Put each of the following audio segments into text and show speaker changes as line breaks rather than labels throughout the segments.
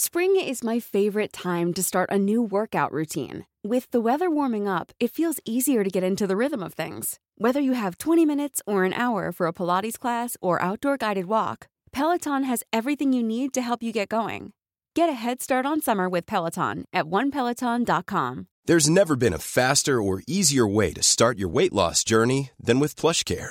Spring is my favorite time to start a new workout routine. With the weather warming up, it feels easier to get into the rhythm of things. Whether you have 20 minutes or an hour for a Pilates class or outdoor guided walk, Peloton has everything you need to help you get going. Get a head start on summer with Peloton at onepeloton.com.
There's never been a faster or easier way to start your weight loss journey than with PlushCare.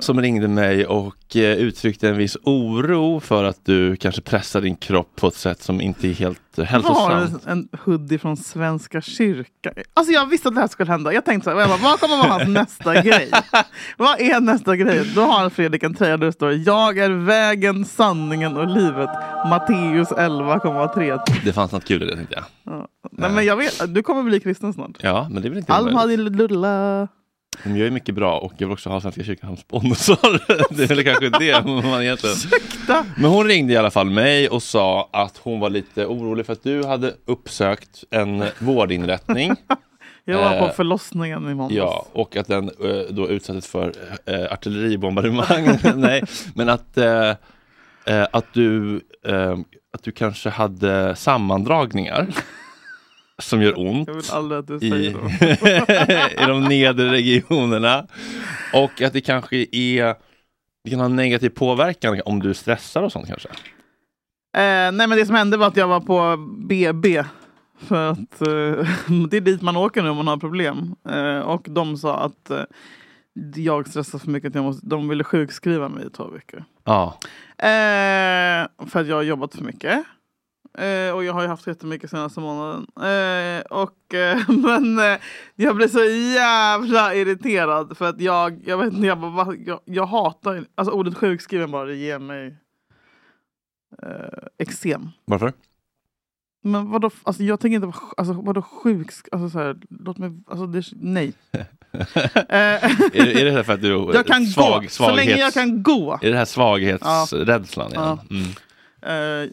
Som ringde mig och eh, uttryckte en viss oro för att du kanske pressar din kropp på ett sätt som inte är helt eh, hälsosamt.
har en hoodie från Svenska kyrkan. Alltså jag visste att det här skulle hända. Jag tänkte så här, jag bara, vad kommer vara hans nästa grej? Vad är nästa grej? Då har Fredrik en tröja där det står Jag är vägen, sanningen och livet. Matteus 11,3.
Det fanns något kul i det tänkte jag.
Nej men jag vet, du kommer bli kristen snart.
Ja, men det är väl inte
Alm
omöjligt.
hade lulla.
De gör ju mycket bra och jag vill också ha Svenska kyrkan som sponsor. Det är väl kanske det man egentligen...
Ursäkta!
Men hon ringde i alla fall mig och sa att hon var lite orolig för att du hade uppsökt en vårdinrättning.
Jag var
Eh,
på förlossningen i måndags.
Ja, och att den eh, då utsattes för eh, artilleribombardemang. Nej, men att, eh, eh, att, du, eh, att du kanske hade sammandragningar som gör ont
Jag vill aldrig att du
i,
säger det.
i de nedre regionerna. Och att det kanske är det kan ha en negativ påverkan om du stressar och sånt kanske.
Eh, nej men det som hände var att jag var på BB. För att eh, det är dit man åker nu om man har problem. Eh, och de sa att eh, jag stressar för mycket. Att jag måste, de ville sjukskriva mig i två veckor.
Ja,
Eh, för att jag har jobbat för mycket. Eh, och jag har ju haft jättemycket senaste månaden. Eh, och, eh, men eh, jag blir så jävla irriterad. För att jag, jag vet inte, jag, bara, va- jag, jag hatar ju- alltså ordet sjukskriven bara, det ger mig eh, eksem.
varför?
Men vadå, alltså jag tänker inte vara sj- alltså, vadå sjuk, alltså så här, låt mig, alltså det, nej. Eh,
Är, det- är det här för att du
jag kan
svag,
gå, så länge jag
svaghets-
kan gå.
Är det här svaghetsrädslan?
Ja.
igen? Mm.
Eh,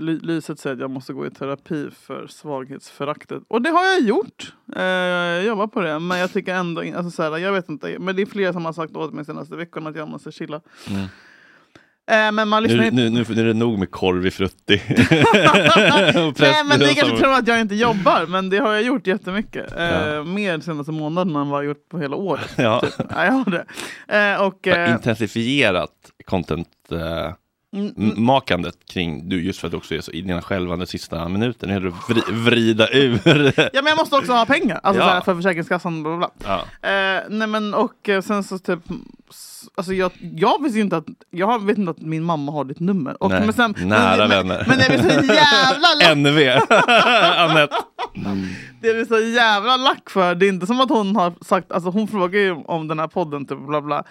Ly- Lyset säger att jag måste gå i terapi för svaghetsföraktet. Och det har jag gjort. Eh, jag jobbar på det. Men jag tycker ändå, in- alltså så här, jag vet inte. Men det är flera som har sagt åt mig senaste veckorna att jag måste chilla.
Mm.
Eh, men man lyssnar
Nu,
inte.
nu, nu, nu är det nog med korv i frutti. Och
Nej
präst-
men ni kanske
och-
tror att jag inte jobbar. Men det har jag gjort jättemycket. Eh,
Ja.
Mer senaste månaden än vad jag gjort på hela året.
Ja.
Typ. Ja, jag har det. Eh, och, eh,
Intensifierat
mm,
content-makandet kring du just för att du också är så i dina skälvande sista minuten. Hur du vri, vrida ur.
ja, men jag måste också ha pengar. Alltså,
Ja.
så här, för Försäkringskassan. Bla, bla, bla.
ja.
Eh, nej men och eh, sen så typ s- Alltså jag, jag visste ju inte att Jag har- vet inte att min mamma har ditt nummer och,
Nej,
men sen,
nära
men,
vänner.
Men, men det blir så jävla lack,
NV. Anette.
det blir så jävla lack för Det är inte som att hon har sagt Alltså hon frågar ju om den här podden typ bla bla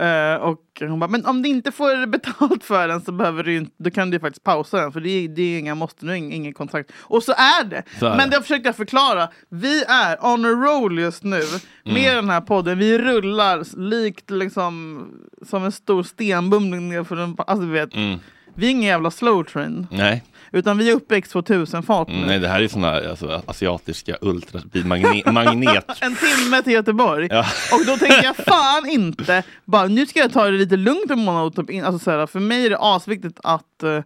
Eh, och hon bara, men om du inte får betalt för den så behöver du ju inte, då kan du ju faktiskt pausa den för det är, det är inga måste, nu är ing- ingen kontrakt. Och så är det!
Så är
men
det.
det försökte jag förklara. Vi är on a roll just nu
Mm.
med den här podden. Vi rullar likt liksom som en stor stenbumling nerför en, alltså du vet.
Mm.
Vi är ingen jävla slow train,
Nej.
utan vi är uppe i X2000-fart nu.
Mm, Nej, det här är sådana alltså, asiatiska ultrabilmagnet.
en timme till Göteborg.
Ja.
Och då tänker jag fan inte, bara nu ska jag ta det lite lugnt en månad. Och typ in, alltså, så här, för mig är det asviktigt att, eh,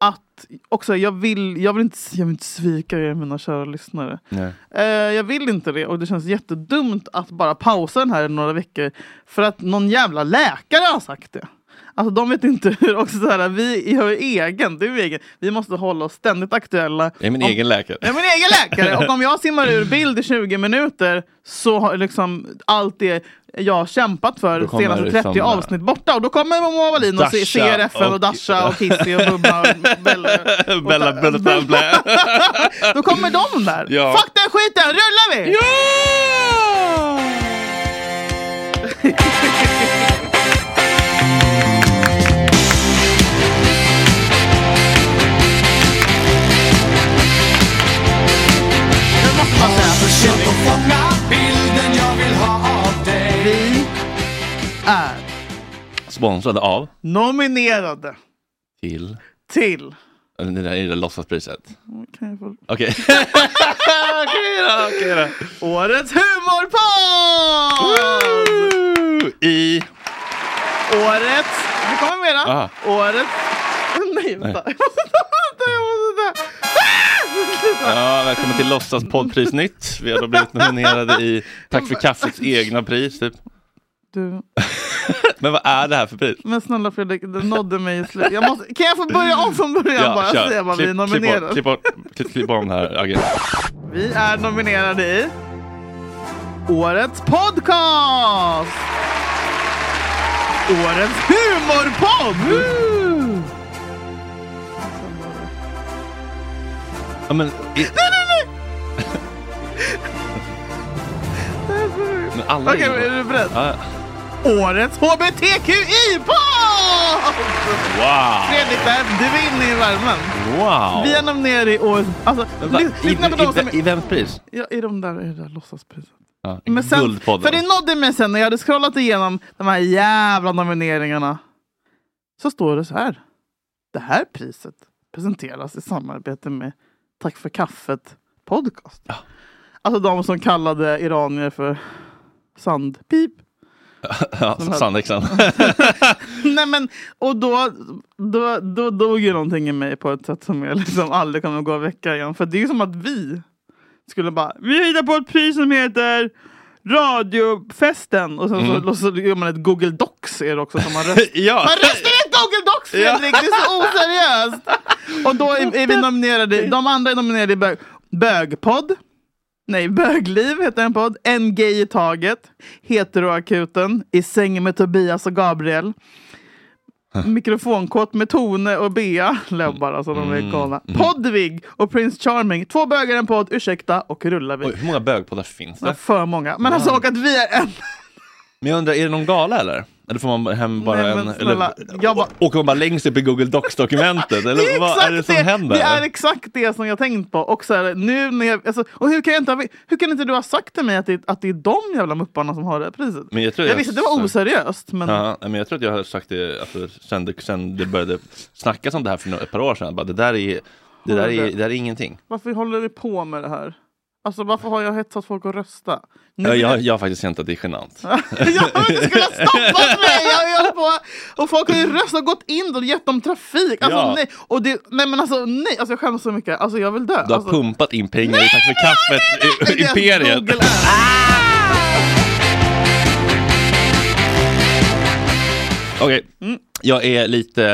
att också, jag, vill, jag, vill inte, jag vill inte svika er mina kära lyssnare.
Nej.
Eh, jag vill inte det och det känns jättedumt att bara pausa den här i några veckor för att någon jävla läkare har sagt det. Alltså de vet inte hur, också så här, vi gör egen, du är egen. Vi måste hålla oss ständigt aktuella.
Jag är min
Om-
egen läkare.
jag är min egen läkare och om jag simmar ur bild i 20 minuter så har liksom allt det jag har kämpat
Då
för
kommer
senaste
liksom,
30
eh,
avsnitt borta och då kommer Moa Wallin och se-
Dasha
CRFN
och-
och Dasha och Kissy och Bubba och Bella.
Bella, bella, bella, bella.
Då kommer de där!
Ja.
Fuck den skiten, rullar vi!
fånga bilden jag vill ha av dig
Vi är
Sponsrade av
nominerade
till
till...
eller det där är det låtsaspriset.
Kan jag få...
Okej. Okej då, okej då.
Årets humorpodd!
Woo! I...
Årets... Det kommer mera.
Ah.
Årets... Nej, vänta. Jag måste ta... Vänta, jag måste ta... Ah! Sluta.
Ja, välkommen till Låtsas poddpris nytt. Vi har då blivit nominerade i Tack för kaffets egna pris. Typ.
Du...
Men vad är det här för pris?
Men snälla Fredrik, det nådde mig i slut. Jag måste... Kan jag få börja om från början bara? Säga vad vi är
Klipp, klipp,
nominerade.
bort, klipp, bort, klipp, klipp om det här. Okej.
Vi är nominerade i Årets podcast! Årets humorpodd!
Ja, men, i, men alla
Okej,
är
är du beredd?
ja,
Årets HBTQI-podd!
Wow!
Fredrik, där, du är inne i värmen.
Wow!
Vi är nominerade i årets... Alltså,
Men va,
ly-
i,
lyssna på dem som
i, i, I
är...
vems pris?
Ja, I de där, i det där låtsaspriset.
Ja,
Men sen,
Guldpodden.
för det nådde mig sen när jag hade scrollat igenom de här jävla nomineringarna. Så står det så här. Det här priset presenteras i samarbete med Tack för kaffet podcast. Alltså de som kallade iranier för sandpip.
Ja, Sandexan.
Nej men, och då, då, då dog ju någonting i mig på ett sätt som jag liksom aldrig kommer gå och väcka igen. För det är ju som att vi skulle bara, vi hittar på ett pris som heter Radiofesten. Och sen så, och så gör man ett Google Docs är det också som man röstar.
ja.
Man röstar i ett Google Docs Fredrik, det är så oseriöst! Och då är, är vi nominerade, de andra är nominerade i bög, bögpodd. Nej, Bögliv heter en podd. En gay i taget. Heteroakuten. I säng med Tobias och Gabriel. Mikrofonkåt med Tone och Bea. Löbbar alltså, de
Mm,
är galna. Poddvig och Prince Charming. Två bögar, en podd, ursäkta och rullar vi.
Oj, hur många bögpoddar finns
Det är
det?
För många. Men alltså, och att vi är en...
Men jag undrar, är det någon gala eller? Eller får man hem bara
Nej, men
en...
snälla,
eller,
jag bara-
Åker man bara längst upp i Google Docs-dokumentet?
Det
Eller
är
vad är det
exakt
som händer?
Det är exakt det som jag tänkt på. Och, så här, nu när jag, alltså, och hur, kan jag inte, ha- hur kan inte du ha sagt till mig att det, att det är de jävla mupparna som har det här priset?
Men jag tror
jag
jag-
visste att det var oseriöst, men...
Ja, men jag tror att jag har sagt det alltså, sen, det sen det började snackas om det här för några, ett par år sedan. Bara, det, där är, det, där är, det där är ingenting.
Varför håller vi på med det här? Alltså varför har jag hetsat folk att rösta? Nu
Jag, jag, jag har faktiskt känt att det är genant.
jag har inte kunnat stoppa mig! Jag har ju hållit på, och folk har ju röstat, gått in och gett dem trafik. Alltså
Ja.
nej! Och det, nej men alltså nej! Alltså jag skäms så mycket. Alltså jag vill dö.
Du har
alltså,
pumpat in pengar i Tack för kaffet, i-
deras
imperiet.
Google är.
Okej, jag är lite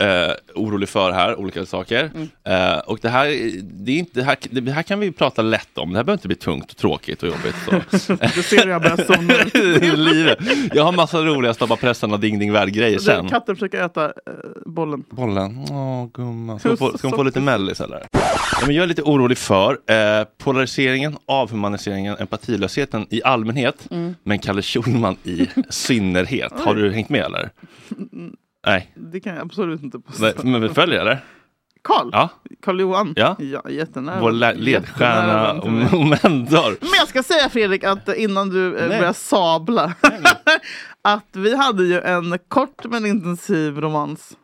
eh, orolig för här, olika saker. Eh, och det här, det, är inte, det, här, det här kan vi prata lätt om. Det här behöver inte bli tungt och tråkigt och jobbigt. Så.
Du ser hur jag börjar somna.
Livet. Jag har massa roliga stoppa pressarna ding ding värld-grejer sen.
Katten försöker äta eh, bollen.
Bollen. Åh, gumman. Ska hon få, ska hon få lite mellis eller? Ja, men jag är lite orolig för eh, polariseringen, avhumaniseringen, empatilösheten i allmänhet, men Kalle Schulman i synnerhet. Har du hängt med eller? Nej,
Det kan jag absolut inte
Nej,
påstå.
men vi följer eller?
Karl?
Ja,
Karl-Johan?
Ja.
jättenära.
vår le-
Jättenära
ledstjärna
vän
och,
till mig.
och mentor.
Men jag ska säga Fredrik att innan du eh,
Nej.
börjar sabla. att vi hade ju en kort men intensiv romans.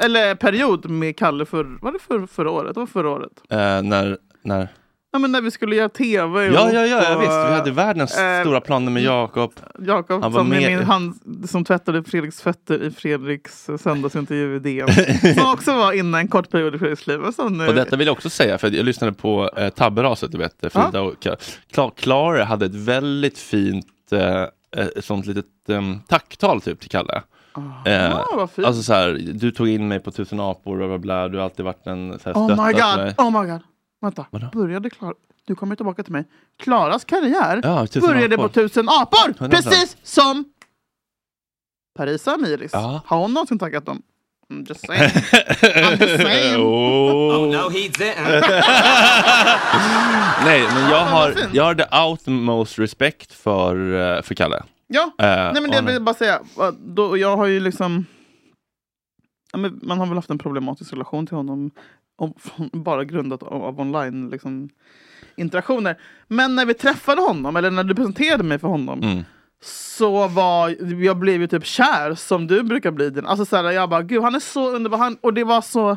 Eller period med Kalle för, var det för, förra året? Det var förra året.
Eh, när, när...
Ja, men när vi skulle göra tv
Ja, ja, ja,
ihop
ja,
och,
visst. Vi hade världens
eh,
stora planer med Jakob.
Jakob
Han var
som, är
med-
min, han, som tvättade Fredriks fötter i Fredriks söndagsintervju i DN. som också var inne en kort period i Fredriks liv. och eh, som nu-
Och detta vill jag också säga, för jag lyssnade på eh, Tabberaset, du vet, Frida och Ka- Kla- Klara hade ett väldigt fint eh, eh, sånt litet eh, tacktal typ till Kalle. Eh,
Ah, vad fint.
alltså så här, du tog in mig på tusen apor, bla, bla, bla, du har alltid varit en så här,
Oh my
stöttat
god,
mig.
oh my god. Vänta,
Vadå?
började Klara... Du kommer tillbaka till mig. Klaras karriär
Ja, Tusen
började
apor.
på tusen apor!
100%.
Precis som Parisa Amiris.
Ja.
Har hon någonsin taggat dem? I'm just saying. I'm just saying.
Oh.
No he didn't
Nej, men jag har,
vad fint.
jag har the outmost respect för, eh, för Kalle.
Ja,
Eh,
nej men det
och
vill jag bara säga. att Då, jag har ju liksom... Ja, men man har väl haft en problematisk relation till honom om, från- bara grundat av, av online liksom, interaktioner. Men när vi träffade honom, eller när du presenterade mig för honom,
Mm.
så var jag blev ju typ kär som du brukar bli. Din. Alltså så här, jag bara gud han är så underbar. Han, och det var så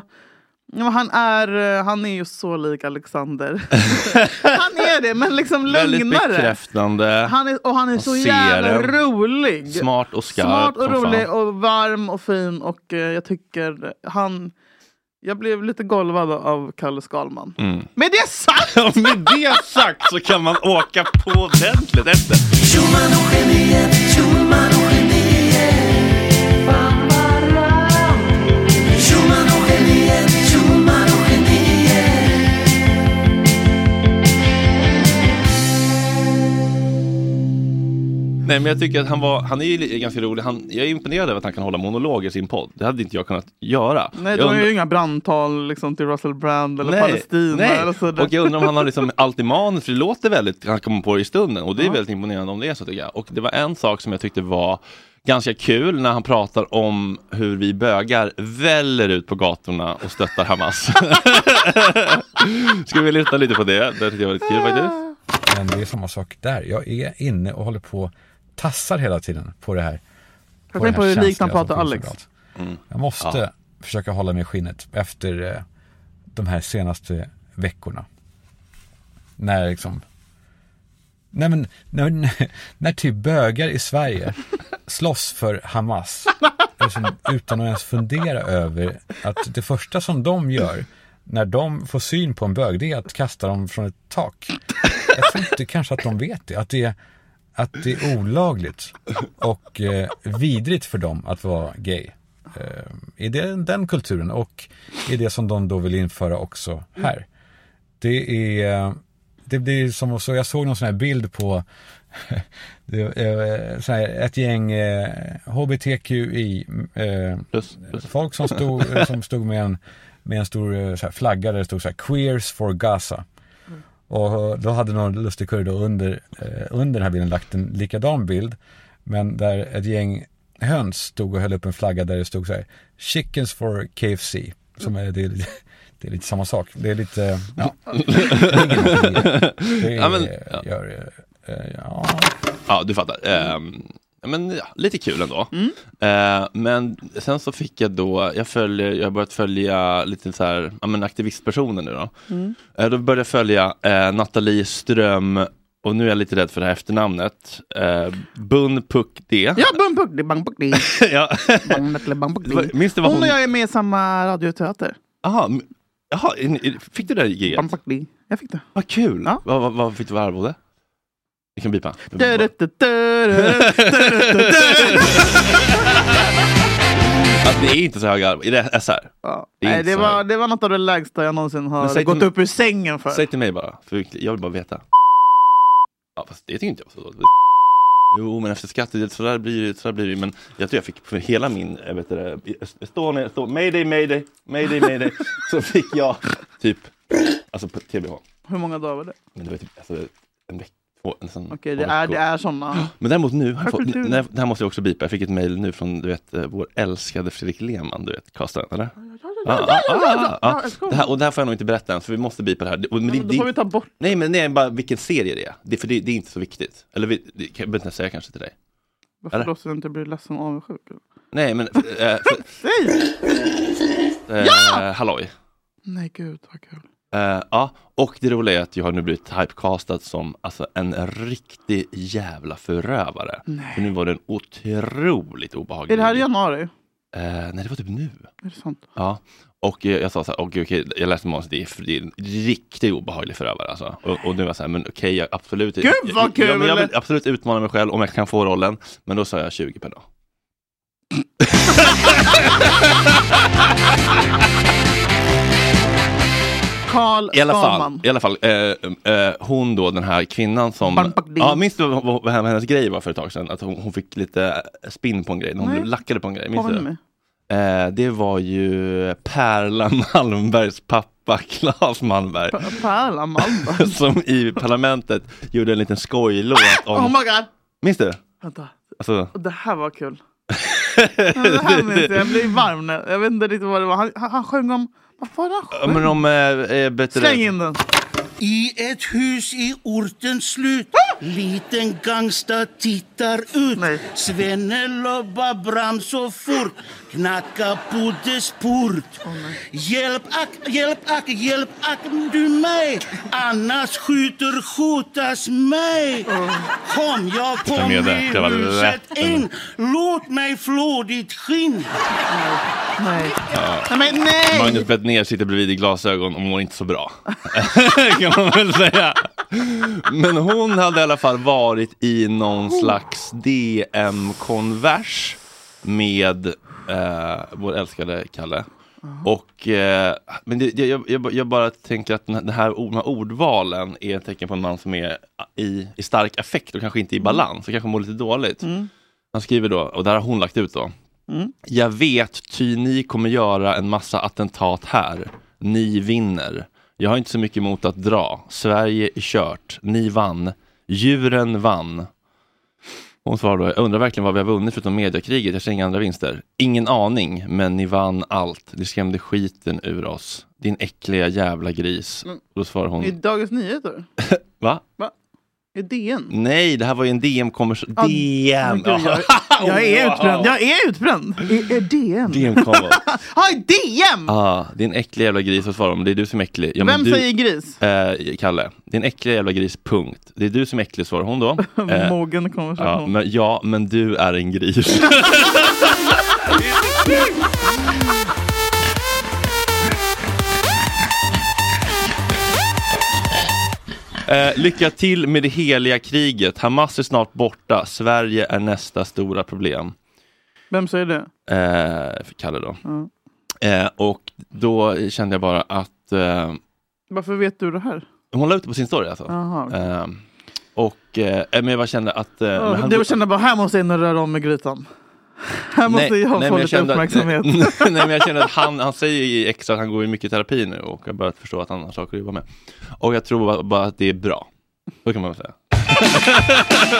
ja, han är eh, han är ju så lik Alexander. han är det men liksom
Väldigt
lugnare.
bekräftande,
Han är, och han är så
ser
jävla
den.
rolig.
smart och skarp.
Smart och
som fan.
rolig och varm och fin och eh, jag tycker han jag blev lite golvad av Kalle Skalman.
Mm.
Med det sagt!
Ja, med det sagt så kan man åka på ordentligt efter. Nej, men jag tycker att han var, han är ju li- ganska rolig. Han, jag är imponerad över att han kan hålla monologer i sin podd. Det hade inte jag kunnat göra.
Nej,
jag
de är
undrar-
ju inga brandtal liksom, till Russell Brand eller Palestina.
nej.
Eller sådär.
Och jag undrar om han har liksom allt i manus, för det låter väldigt, han kommer på det i stunden och det är väldigt imponerande om det är så tycker jag. Och det var en sak som jag tyckte var ganska kul när han pratar om hur vi bögar väller ut på gatorna och stöttar Hamas. Ska vi lyssna lite på det? Det tyckte jag var lite kul faktiskt.
Men det är samma sak där. Jag är inne och håller på tassar hela tiden på det här.
Jag
på det
tänker på hur
här
likt han
känsliga som
pratar
finns
Alex.
överallt. Jag måste försöka hålla mig i skinnet efter eh, de här senaste veckorna. När liksom... Nej men, när, när- när typ bögar i Sverige slåss för Hamas liksom, utan att ens fundera över att det första som de gör när de får syn på en bög, det är att kasta dem från ett tak. Jag tror inte kanske att de vet det, att det är, att det är olagligt och eh, vidrigt för dem att vara gay. Eh, I den, den kulturen och i det som de då vill införa också här. Det är, det blir som att så, jag såg någon sån här bild på det, eh, så här, ett gäng eh, HBTQI eh,
Plus, plus.
folk som stod, eh, som stod med en, med en stor eh, så här, flagga där det stod så här, Queers for Gaza.
Mm.
Och eh, då hade någon lustig kurre då under, eh, under den här bilden lagt en likadan bild. Men där ett gäng höns stod och höll upp en flagga där det stod så här Chickens for KFC. Som är, det, är, lite- det är lite samma sak. Det är lite, ja. Det är ingenting i det. Det är,
Ja, men, ja.
ja. Gör, eh, eh, ja.
Ja, du fattar. Ehm, men ja, lite kul ändå.
Mm.
Eh, men sen så fick jag då, jag, följer, jag har börjat följa lite så här, ja men aktivistpersoner nu då.
Mm.
Eh, då började jag följa eh, Nathalie Ström, och nu är jag lite rädd för det här efternamnet, eh, Bun Puck D.
Ja, bum, buck, di, bang, buck, di,
ja.
bang, buck, di, bang, buck, di.
Minns du vad
Hon
hon...
och jag är med i samma radioteater.
Aha, m- Jaha, in- in- fick du det där giget?
Bang, buck, di. Jag fick det.
Vad kul!
Ja.
Vad, vad, vad fick du för arvode? Vi kan bipa. Att det är inte så höga arvoden, är det SR?
Ja.
Det är
Nej,
inte
det,
så
var,
här.
det var något av det lägsta jag någonsin
Men
har
säg
gått
till-
upp ur sängen för.
Säg till mig bara, för jag vill bara veta. Ja, fast det tycker inte jag var så dåligt. Jo, men efter skatt, det- så där blir det, så där blir det. Men jag tror jag fick för hela min, jag vet inte, Estonia, Estonia, mayday, mayday, mayday, mayday. så fick jag typ, alltså på TBH.
Hur många dagar var det?
Men det var typ alltså, en vecka, två, nästan
Okej,
två
det, är,
veckor.
det är såna.
Men däremot nu, har jag fått,
Fakultur.
nej, det här måste jag också bipa. Jag fick ett mejl nu från du vet, eh, vår älskade Fredrik Lehmann, du vet, kastaren, eller? Ah, ah, ah, ah. Det här, och det här får jag nog inte berätta än, så vi måste bipa det här. Det- och- Men det,
Då får
det,
vi ta bort
Nej, men nej, bara vilken serie det är. Det, för det, det är inte så viktigt. Eller vi, det kan jag behöver inte säga kanske till dig.
Varför
Eller?
då så du inte blir ledsen och avundsjuk?
Nej, men... Äh, för,
Nej!
äh, ja! Halloj.
Nej gud vad kul.
Eh, ja, och det roliga är att jag har nu blivit typecastad som alltså, en riktig jävla förövare. För nu var den otroligt obehaglig.
Är det här i januari?
Eh, nej, det var typ nu.
Är det sant?
Ja. Och eh, jag sa så här, okej, okej, jag läste manuset, det är, det är en riktigt obehaglig förövare alltså. Och, och nu var jag så här, men okej, jag absolut...
Gud, vad
Jag, ja, men jag
kul!
vill absolut utmana mig själv om jag kan få rollen, men då sa jag 20 per dag.
Karl
I alla fall,
Skalman.
i alla fall eh, eh, hon då, den här kvinnan som...
Bang, bang, ding.
Ja, minns du vad, vad, vad hennes grej var för ett tag sedan? Att hon, hon fick lite spinn på en grej, när hon
Nej.
blev lackade på en grej. Minns
Påminn
du? det?
mig.
Eh, det var ju Perla Malmbergs pappa, Claes Malmberg,
P- Pärla Malmberg.
som i Parlamentet gjorde en liten skojlåt
Oh
om...
my god!
Minns du?
Vänta,
Alltså,
och det här var kul. Ja, det här minns jag, jag blir varm nu. Jag vet inte riktigt vad det var. Han, han, han sjöng om Vad var det?
Ja, Men om... eh, eh, bättre-
Släng in den.
I ett hus i ortens slut Liten gangsta tittar ut
Nej.
Svenne lobbar bram så fort Knacka på dess port Hjälp ack, hjälp ack, hjälp ack du mig Annars skjuter skjutas mig Kom, jag
Jag
kom
med
i
det. Det var
huset
lätt.
in Låt mig flå ditt skinn
Nej. Nej, men nej!
Magnus Bettner sitter bredvid i glasögon och mår inte så bra. kan man väl säga. Men hon hade i alla fall varit i någon slags DM-konvers med eh, vår älskade Kalle. Och, eh, men det, det, jag, jag, jag bara tänker att den här, den här ord- de här ordvalen är ett tecken på en man som är i, i stark affekt och kanske inte i balans och kanske mår lite dåligt. Han skriver då, och där har hon lagt ut då.
Mm.
Jag vet, ty ni kommer göra en massa attentat här. Ni vinner. Jag har inte så mycket emot att dra. Sverige är kört. Ni vann. Djuren vann. Hon svarar då, jag undrar verkligen vad vi har vunnit förutom mediakriget. Jag ser inga andra vinster. Ingen aning, men ni vann allt. Ni skrämde skiten ur oss. Din äckliga jävla gris. Och då svarar
I
hon,
Dagens Nyheter?
va?
I DN?
Nej, det här var ju en DM-konversation. DM!
Men gud, jag, jag är utbränd. Jag är utbränd. I, i DN?
DM-konvo.
Ja, i DM!
Ah, din äckliga jävla gris, vad svarar de? Det är du som är äcklig. Ja, men
Vem
du...
säger gris?
Eh, Kalle, din äckliga jävla gris, punkt. Det är du som är äcklig, svarar hon då. Eh,
Mogen
ja,
konversation.
men, ja, men du är en gris. Eh, lycka till med det heliga kriget. Hamas är snart borta. Sverige är nästa stora problem.
Vem säger det?
Eh, för Kalle då.
Mm.
Eh, och då kände jag bara att eh,
Varför vet du det här?
hon la ut det på sin story alltså.
Jaha. okej.
Ehm, och eh, men jag bara kände att... eh,
Ja,
men han-
Du känner bara, här måste jag in och röra om i grytan. Här måste jag
men
få lite
kände att-
uppmärksamhet.
Nej, nej, men jag kände att han, han säger ju extra att han går ju mycket i terapi nu och har börjat förstå att han har saker att jobba med. Och jag tror bara, bara att det är bra. Så kan man väl säga.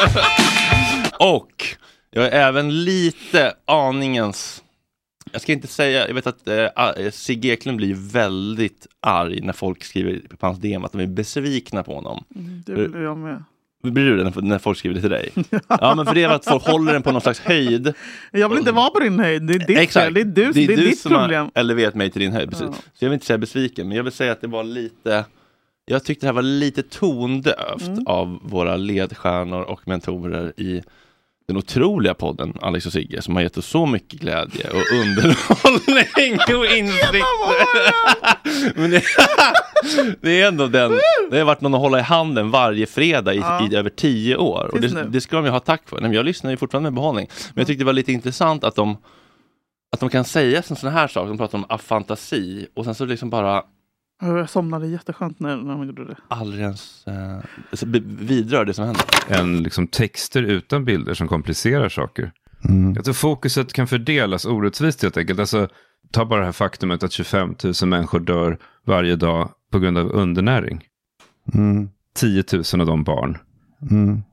och jag är även lite aningens... Jag ska inte säga, jag vet att eh, ah, eh, Sigge Eklund blir ju väldigt arg när folk skriver på hans DM att de är besvikna på honom.
Det
Eh.
vill jag med.
Blir du det när- när folk skriver det till dig? Ja, men för det är att folk håller den på någon slags höjd.
Jag vill inte vara på din höjd. Det är ditt fel. Det är, du, det är,
du
ditt
som har
problem.
eleverat mig till din höjd. Precis.
Ja.
Så jag vill inte säga besviken, men jag vill säga att det var lite... Jag tyckte det här var lite tondövt
Mm.
av våra ledstjärnor och mentorer i den otroliga podden Alex och Sigge som har gett oss så mycket glädje och underhållning och insikter. Men det, det är ändå den, det har varit någon att hålla i handen varje fredag i, i över tio år. Och
Tills
det,
nu. Mm.
det ska de ju ha tack för. Nej, men jag lyssnar ju fortfarande med behållning. Men jag tyckte det var lite intressant att de, att de kan säga en sån här sak, de pratar om afantasi och sen så liksom bara
Jag somnade jätteskönt när, när hon gjorde det.
aldrig ens eh, alltså, be- vidrör det som händer.
än liksom texter utan bilder som komplicerar saker. Jag tror fokuset kan fördelas orättvist helt enkelt. Alltså, ta bara det här faktumet att 25 000 människor dör varje dag på grund av undernäring. 10 000 av dem barn.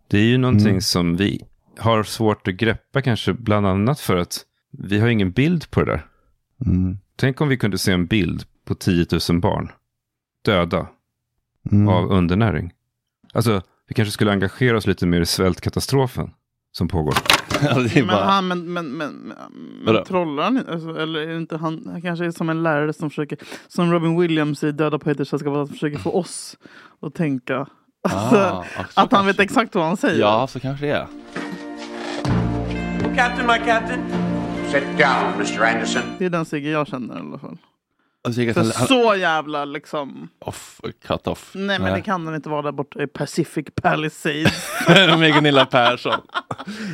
Det är ju någonting som vi har svårt att greppa kanske bland annat för att vi har ingen bild på det där. Tänk om vi kunde se en bild på 10 000 barn döda av undernäring. Alltså, vi kanske skulle engagera oss lite mer i svältkatastrofen som pågår.
Alltså, det är
Men,
bara,
han, men, men, men, men,
Vadå?
men trollar han inte? alltså, Eller är det inte han, han kanske är som en lärare som försöker, som Robin Williams i Döda poeters sällskap, att försöker få oss att tänka. Alltså,
Ah, ja, så
att han vet
kanske.
exakt vad han säger.
ja, så kanske det är.
Captain, my captain. Sit down, Mr. Anderson.
Det är den Sigge jag känner i alla fall.
Alltså, jag
Så,
kan, han,
så jävla liksom.
off, cut off.
Nej men det kan han inte vara där borta i Pacific Palisades.
med Gunilla Persson.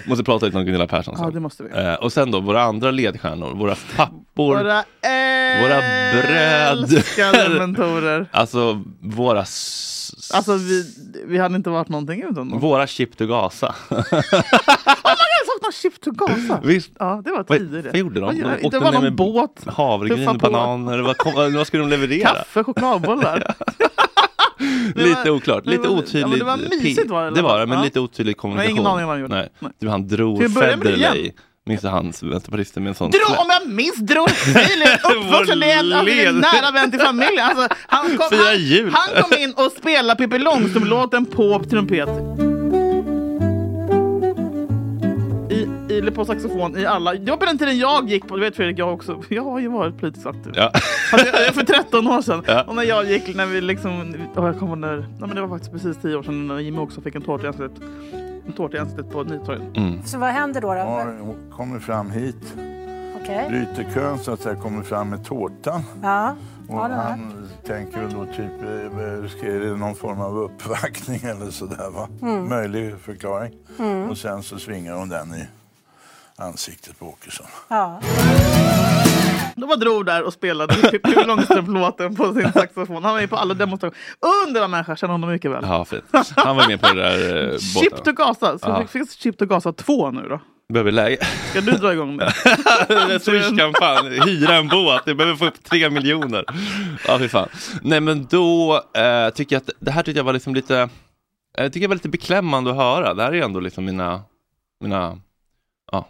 Måste prata lite om Gunilla Persson sen.
Ja, det måste vi.
Eh, och sen då våra andra ledstjärnor, våra pappor,
Våra
bröder.
älskade mentorer.
alltså våra... s-
Alltså vi, vi hade inte varit någonting utan dem.
Våra chip to Gaza.
Jag saknar Chip to Gaza.
Visst.
Ja, det var
Vad,
tidigare.
vad gjorde de?
Vad
de
gör- Det var
ner
någon båt,
Havregryn,
Tuffa på.
bananer, vad, kom, vad skulle de leverera?
kaffe, chokladbollar. Det var-
lite oklart,
det
lite
var-
otydligt.
ja, men det var
p-
mysigt var det,
Det var
eller?
det, men
Ja.
lite otydlig kommunikation.
ingen aning vad han gjorde.
Nej.
Nej.
Du, han
Till
drog
att börja med
Federley
igen.
minns jag hans vänsterpartister med en sån...
Dro, om jag minns Dror Filip, uppvuxen i en, alltså, det är en
led.
nära vän till familjen. Alltså, han, kom,
Fira
han,
jul.
han kom in och spelade Pippi Långstrump-låten på trumpet. I, i, på saxofon i alla. Det var på den tiden jag gick på, du vet Fredrik, jag också. Jag har ju varit politiskt aktiv.
Ja.
Alltså, jag, jag, för 13 år sedan.
Ja.
Och när jag gick, när vi liksom, åh, jag kommer när, ja, men det var faktiskt precis 10 år sedan när Jimmy också fick en tårta i ansiktet. En tårta i ansiktet på Nytorget.
Så vad händer då? då?
kommer fram hit,
Okej.
bryter kön så att säga, kommer fram med tårtan.
Ja.
Och
Ja, det har
han tänker väl då typ, eh, ska- är det någon form av uppvaktning eller sådär va?
Mm.
Möjlig förklaring. Och sen så svingar hon den i ansiktet på Åkesson.
ja.
Då var Dror där och spelade Pippi Långstrump-låten på sin saxofon. Han var ju på alla demonstrationer. Underbar människa, känner honom mycket väl.
ja, fint. Han var med på det där eh,
Chip to
båten.
Gaza, så
Ja.
det finns Chip to Gaza 2 nu då.
Behöver läge.
Ska du dra igång det?
Swish-kampanj, hyra en båt, jag behöver få upp tre miljoner. Ja, fy fan. Nej, men då eh, tycker jag att det här tyckte jag var liksom lite, eh, tycker jag var lite beklämmande att höra. Det här är ändå liksom mina, mina,
Ja,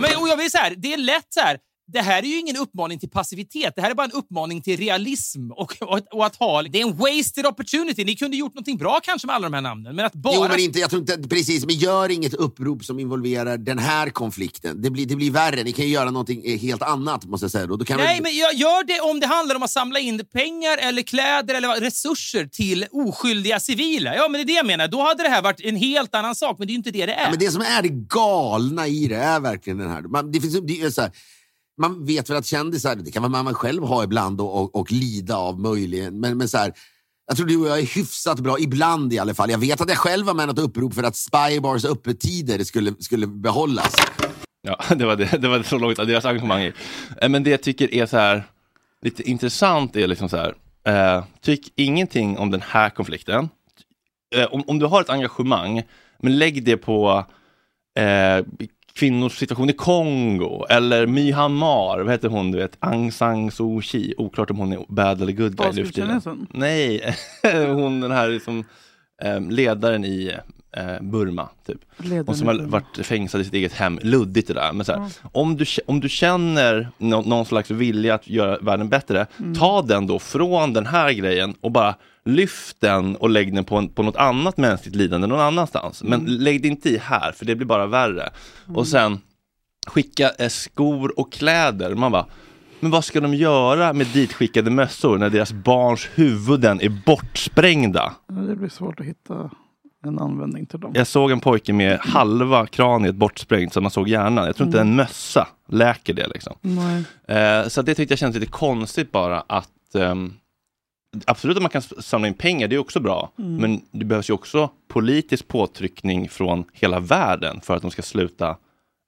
men, och jag vill så här, det är lätt så här. Det här är ju ingen uppmaning till passivitet. Det här är bara en uppmaning till realism och, och, att- och att ha... Det är en wasted opportunity. Ni kunde gjort någonting bra kanske med alla de här namnen, men att bara...
Jo, men inte, jag tror inte, precis, men gör inget upprop som involverar den här konflikten. Det blir, det blir värre. Ni kan ju göra någonting eh, helt annat, måste jag säga. Då. Då kan
Nej,
väl-
men jag gör det om det handlar om att samla in pengar eller kläder eller vad- resurser till oskyldiga civila. Ja, men det är det jag menar. Då hade det här varit en helt annan sak, men det är ju inte det det är.
Ja, men det som är det galna i det är verkligen den här... Man, det finns, det är så här man vet väl att kändisar, det kan vara man själv ha ibland och, och, och lida av möjligen, men, men så här, jag tror du och jag är hyfsat bra, ibland i alla fall. Jag vet att jag själv var med i något upprop för att Spybars öppettider skulle, skulle behållas.
ja, det var, det, det var så långt av deras engagemang gick. Eh, Men det jag tycker är så här, lite intressant är liksom så här, eh, tyck ingenting om den här konflikten. Eh, om, om du har ett engagemang, men lägg det på eh, kvinnors situation i Kongo eller Myanmar, vad heter hon, du vet, Aung San Suu Kyi, oklart om hon är bad eller good guy
Vad
nu för tiden.
skulle
Nej, hon den här liksom, eh, ledaren i eh, Burma, typ.
Ledaren
Hon som
i
har
Burma.
varit fängslad i sitt eget hem, luddigt det där. Men så här, om, du, kä- om du känner nå, någon slags vilja att göra världen bättre,
Mm.
ta den då från den här grejen och bara lyft den och lägg den på, en, på något annat mänskligt lidande någon annanstans.
Mm.
Men lägg det inte i här, för det blir bara värre. Och sen skicka eh, skor och kläder. Man bara, men vad ska de göra med ditskickade mössor när deras barns huvuden är bortsprängda?
Det blir svårt att hitta en användning till dem.
Jag såg en pojke med halva kraniet bortsprängt så man såg hjärnan. Jag tror inte en mössa läker det. Liksom.
Nej.
Eh, så att det tyckte jag kändes lite konstigt bara att ehm, Absolut att man kan s- samla in pengar, det är också bra.
Mm.
Men det behövs ju också politisk påtryckning från hela världen för att de ska sluta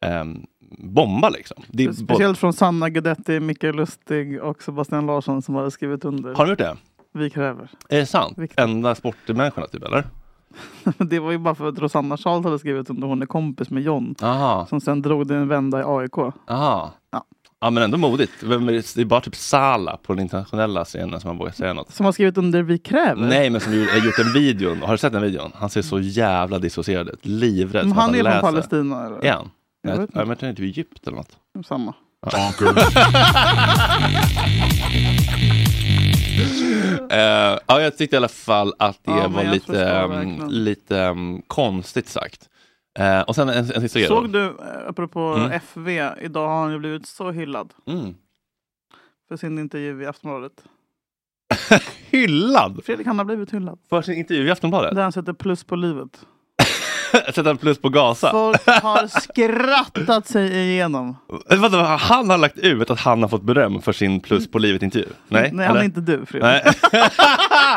ehm, bomba. Liksom. Det är både-
Speciellt från Sanna Guidetti, Mikael Lustig och Sebastian Larsson som hade skrivit under.
Har de gjort det?
Vi kräver.
Är det sant?
Viktigt.
Enda sportmänniskorna typ, eller?
Det var ju bara för att Rosanna Charles hade skrivit under. Hon är kompis med John.
Aha.
Som sen drog det en vända i AIK.
Aha.
Ja.
Ja men ändå modigt. Vem är det det är bara typ Sala på den internationella scenen som har vågat säga något.
Som har skrivit under Vi kräver.
Nej men som ju- har gjort en video. Har du sett den videon? Han ser så jävla dissocierad ut. Livrädd.
Mm. Men
som
han är
läser.
från Palestina. Eller?
Är han?
Jag
Jag
vet
vet
inte.
inte. Jag tror inte Egypten eller något.
Samma.
Eh, ja, jag tyckte i alla fall att det
Ja, men
var
jag
lite,
förstår
ehm,
verkligen.
lite ehm, konstigt sagt. Eh, och sen en, en sista grej. då.
Såg du, eh, apropå
Mm.
FV, idag har han ju blivit så hyllad
Mm.
för sin intervju i Aftonbladet.
Hyllad
Fredrik, han har blivit hyllad.
för sin intervju i Aftonbladet.
Där han sätter plus på livet.
Sätter en plus på Gaza.
Folk har skrattat sig igenom.
Eh, Vadå, han har lagt ut att han har fått beröm för sin plus på livet-intervju? Nej,
Nej, han
eller?
är inte du Fredrik.
Nej.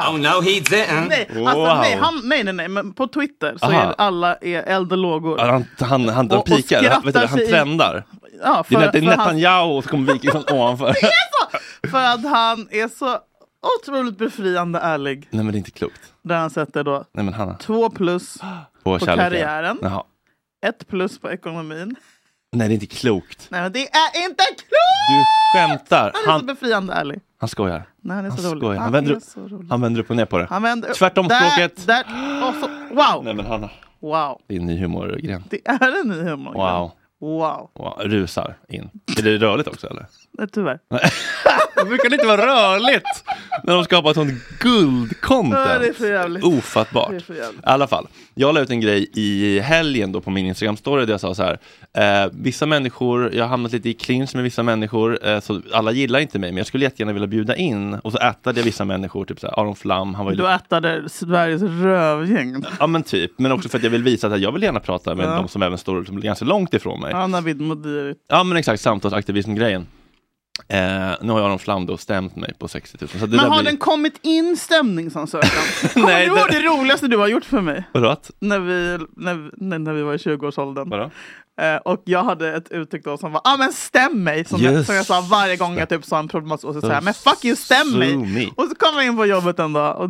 Oh no, he didn't.
Nej, alltså,
Wow.
nej, han, nej, nej, nej, men på Twitter så
Aha.
är alla är eld och lågor.
Ja, Han, han, han,
Och-
han
och
pikar, han, vet du,
skrattar
han
sig i-
trendar.
Ja,
Det är, Net- det är
för, han,
Netanyahu och så kommer Wikingsson ovanför.
för att han är så otroligt befriande ärlig.
Nej men det är inte klokt.
Där han sätter då
Nej men Hanna,
två plus,
på,
På
kärleken.
karriären.
Jaha.
ett plus på ekonomin.
Nej det är inte klokt.
Nej men det är inte klokt!
Du skämtar.
Han är så
Han,
befriande ärlig.
han skojar.
Nej, han är
Han
så rolig.
skojar. Han
Han
vänder
är
upp-
så rolig.
Han vänder upp och ner på det.
Han vänder upp.
Tvärtom språket.
Där, där. Och så, wow!
Nej men Hanna,
Wow!
det är en ny humorgren.
Det är en ny humor.
Wow.
Wow.
Wow, rusar in. Är det rörligt också eller?
Nej, tyvärr.
det brukar inte vara rörligt när de skapar sånt guldcontent.
Ja, det är för jävligt.
Ofattbart.
Det är för jävligt.
I alla fall, jag la ut en grej i helgen då på min Instagram-story där jag sa så här. Eh, vissa människor, jag har hamnat lite i clinch med vissa människor, eh, så alla gillar inte mig, men jag skulle jättegärna vilja bjuda in. Och så ätade jag vissa människor, typ så här, Aron Flam, han var ju
Du ätade Sveriges rövgäng.
Ja men typ, men också för att jag vill visa att jag vill gärna prata med
Ja.
de som även står som är ganska långt ifrån mig.
Anna Widmodiri.
Ja men exakt, samtalsaktivism-grejen. Eh, nu har Aron Flam då stämt mig på 60 000. Så det
Men
där
har
blir...
den kommit in stämningsansökan? Kommer du ihåg det roligaste du har gjort för mig?
Vadå? Att-
När vi, när, vi- när, när vi var i 20-årsåldern.
Vadå?
Eh, och jag hade ett uttryck då som var ah, men stäm mig. Som, jag,
Just
som jag sa varje gång jag typ sa en problematisk åsikt. Så här, men fuck you, stäm mig.
Sue me.
Och så kom jag in på jobbet en dag. Och,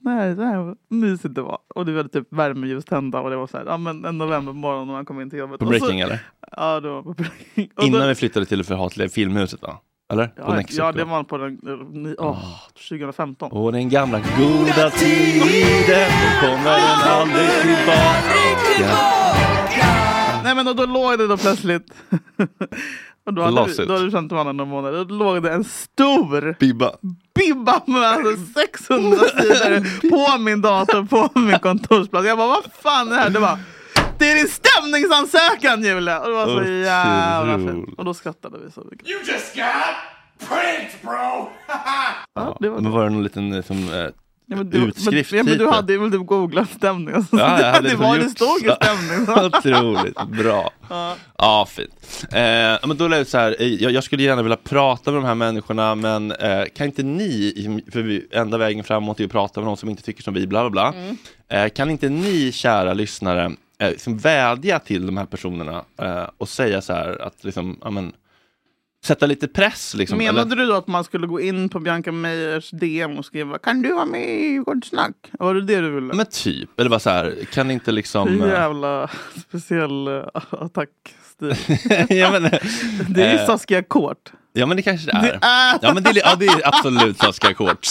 nej, det här var mysigt det var. Och du hade typ värmeljus tända. Och det var så här, ah, men en novembermorgon när man kom in till jobbet.
På
Och så-
Breaking, eller?
Ja, det var på Breaking. Och då-
Innan vi flyttade till det förhatliga filmhuset va? Eller? på Ah.
Ja,
Nexus.
ja, det var på den, ni- åh, 2015.
Och den gamla goda tiden kommer den aldrig tillbaka.
Nej men och då låg det då plötsligt. och då hade,
Lawsuit.
du, då hade du känt varandra några månader. Och Då låg det en stor
Bibba.
Bibba med
Mm.
alltså 600 sidor på min dator på min kontorsplats. Jag bara vad fan är det här? Det var det är din stämningsansökan Julia! Och det var så
Otroligt.
jävla fint. Och då skrattade vi så mycket.
You just got pranked, bro!
Ja, men var det någon liten eh, som, eh,
Ja, men du,
utskrift?
men, ja, men du
hit?
hade ju väl typ googlat stämning. Alltså,
Ja, jag hade
det
liksom
var det
gjort
stod ju
så.
stämning.
Otroligt bra.
Ja.
Ja, fint. Eh, ja, men då lät det så här, eh, jag, jag skulle gärna vilja prata med de här människorna, men eh, kan inte ni, för vi, enda vägen framåt är att prata med någon som inte tycker som vi, bla bla bla.
Mm.
Eh, kan inte ni, kära lyssnare, eh, liksom vädja till de här personerna eh, och säga så här att liksom, ja, men, sätta lite press liksom.
Menade
eller-
du då att man skulle gå in på Bianca Meyers DM och skriva Kan du vara med i Vårt snack? Var det det du ville?
Men typ, eller bara så här, kan inte liksom... eh,
Jävla speciell eh, attackstil.
ja, men,
det är ju
eh,
Saskia Kort.
Ja men det kanske det är.
Det är-
Ja men det är, ja, det är absolut Saskia Kort.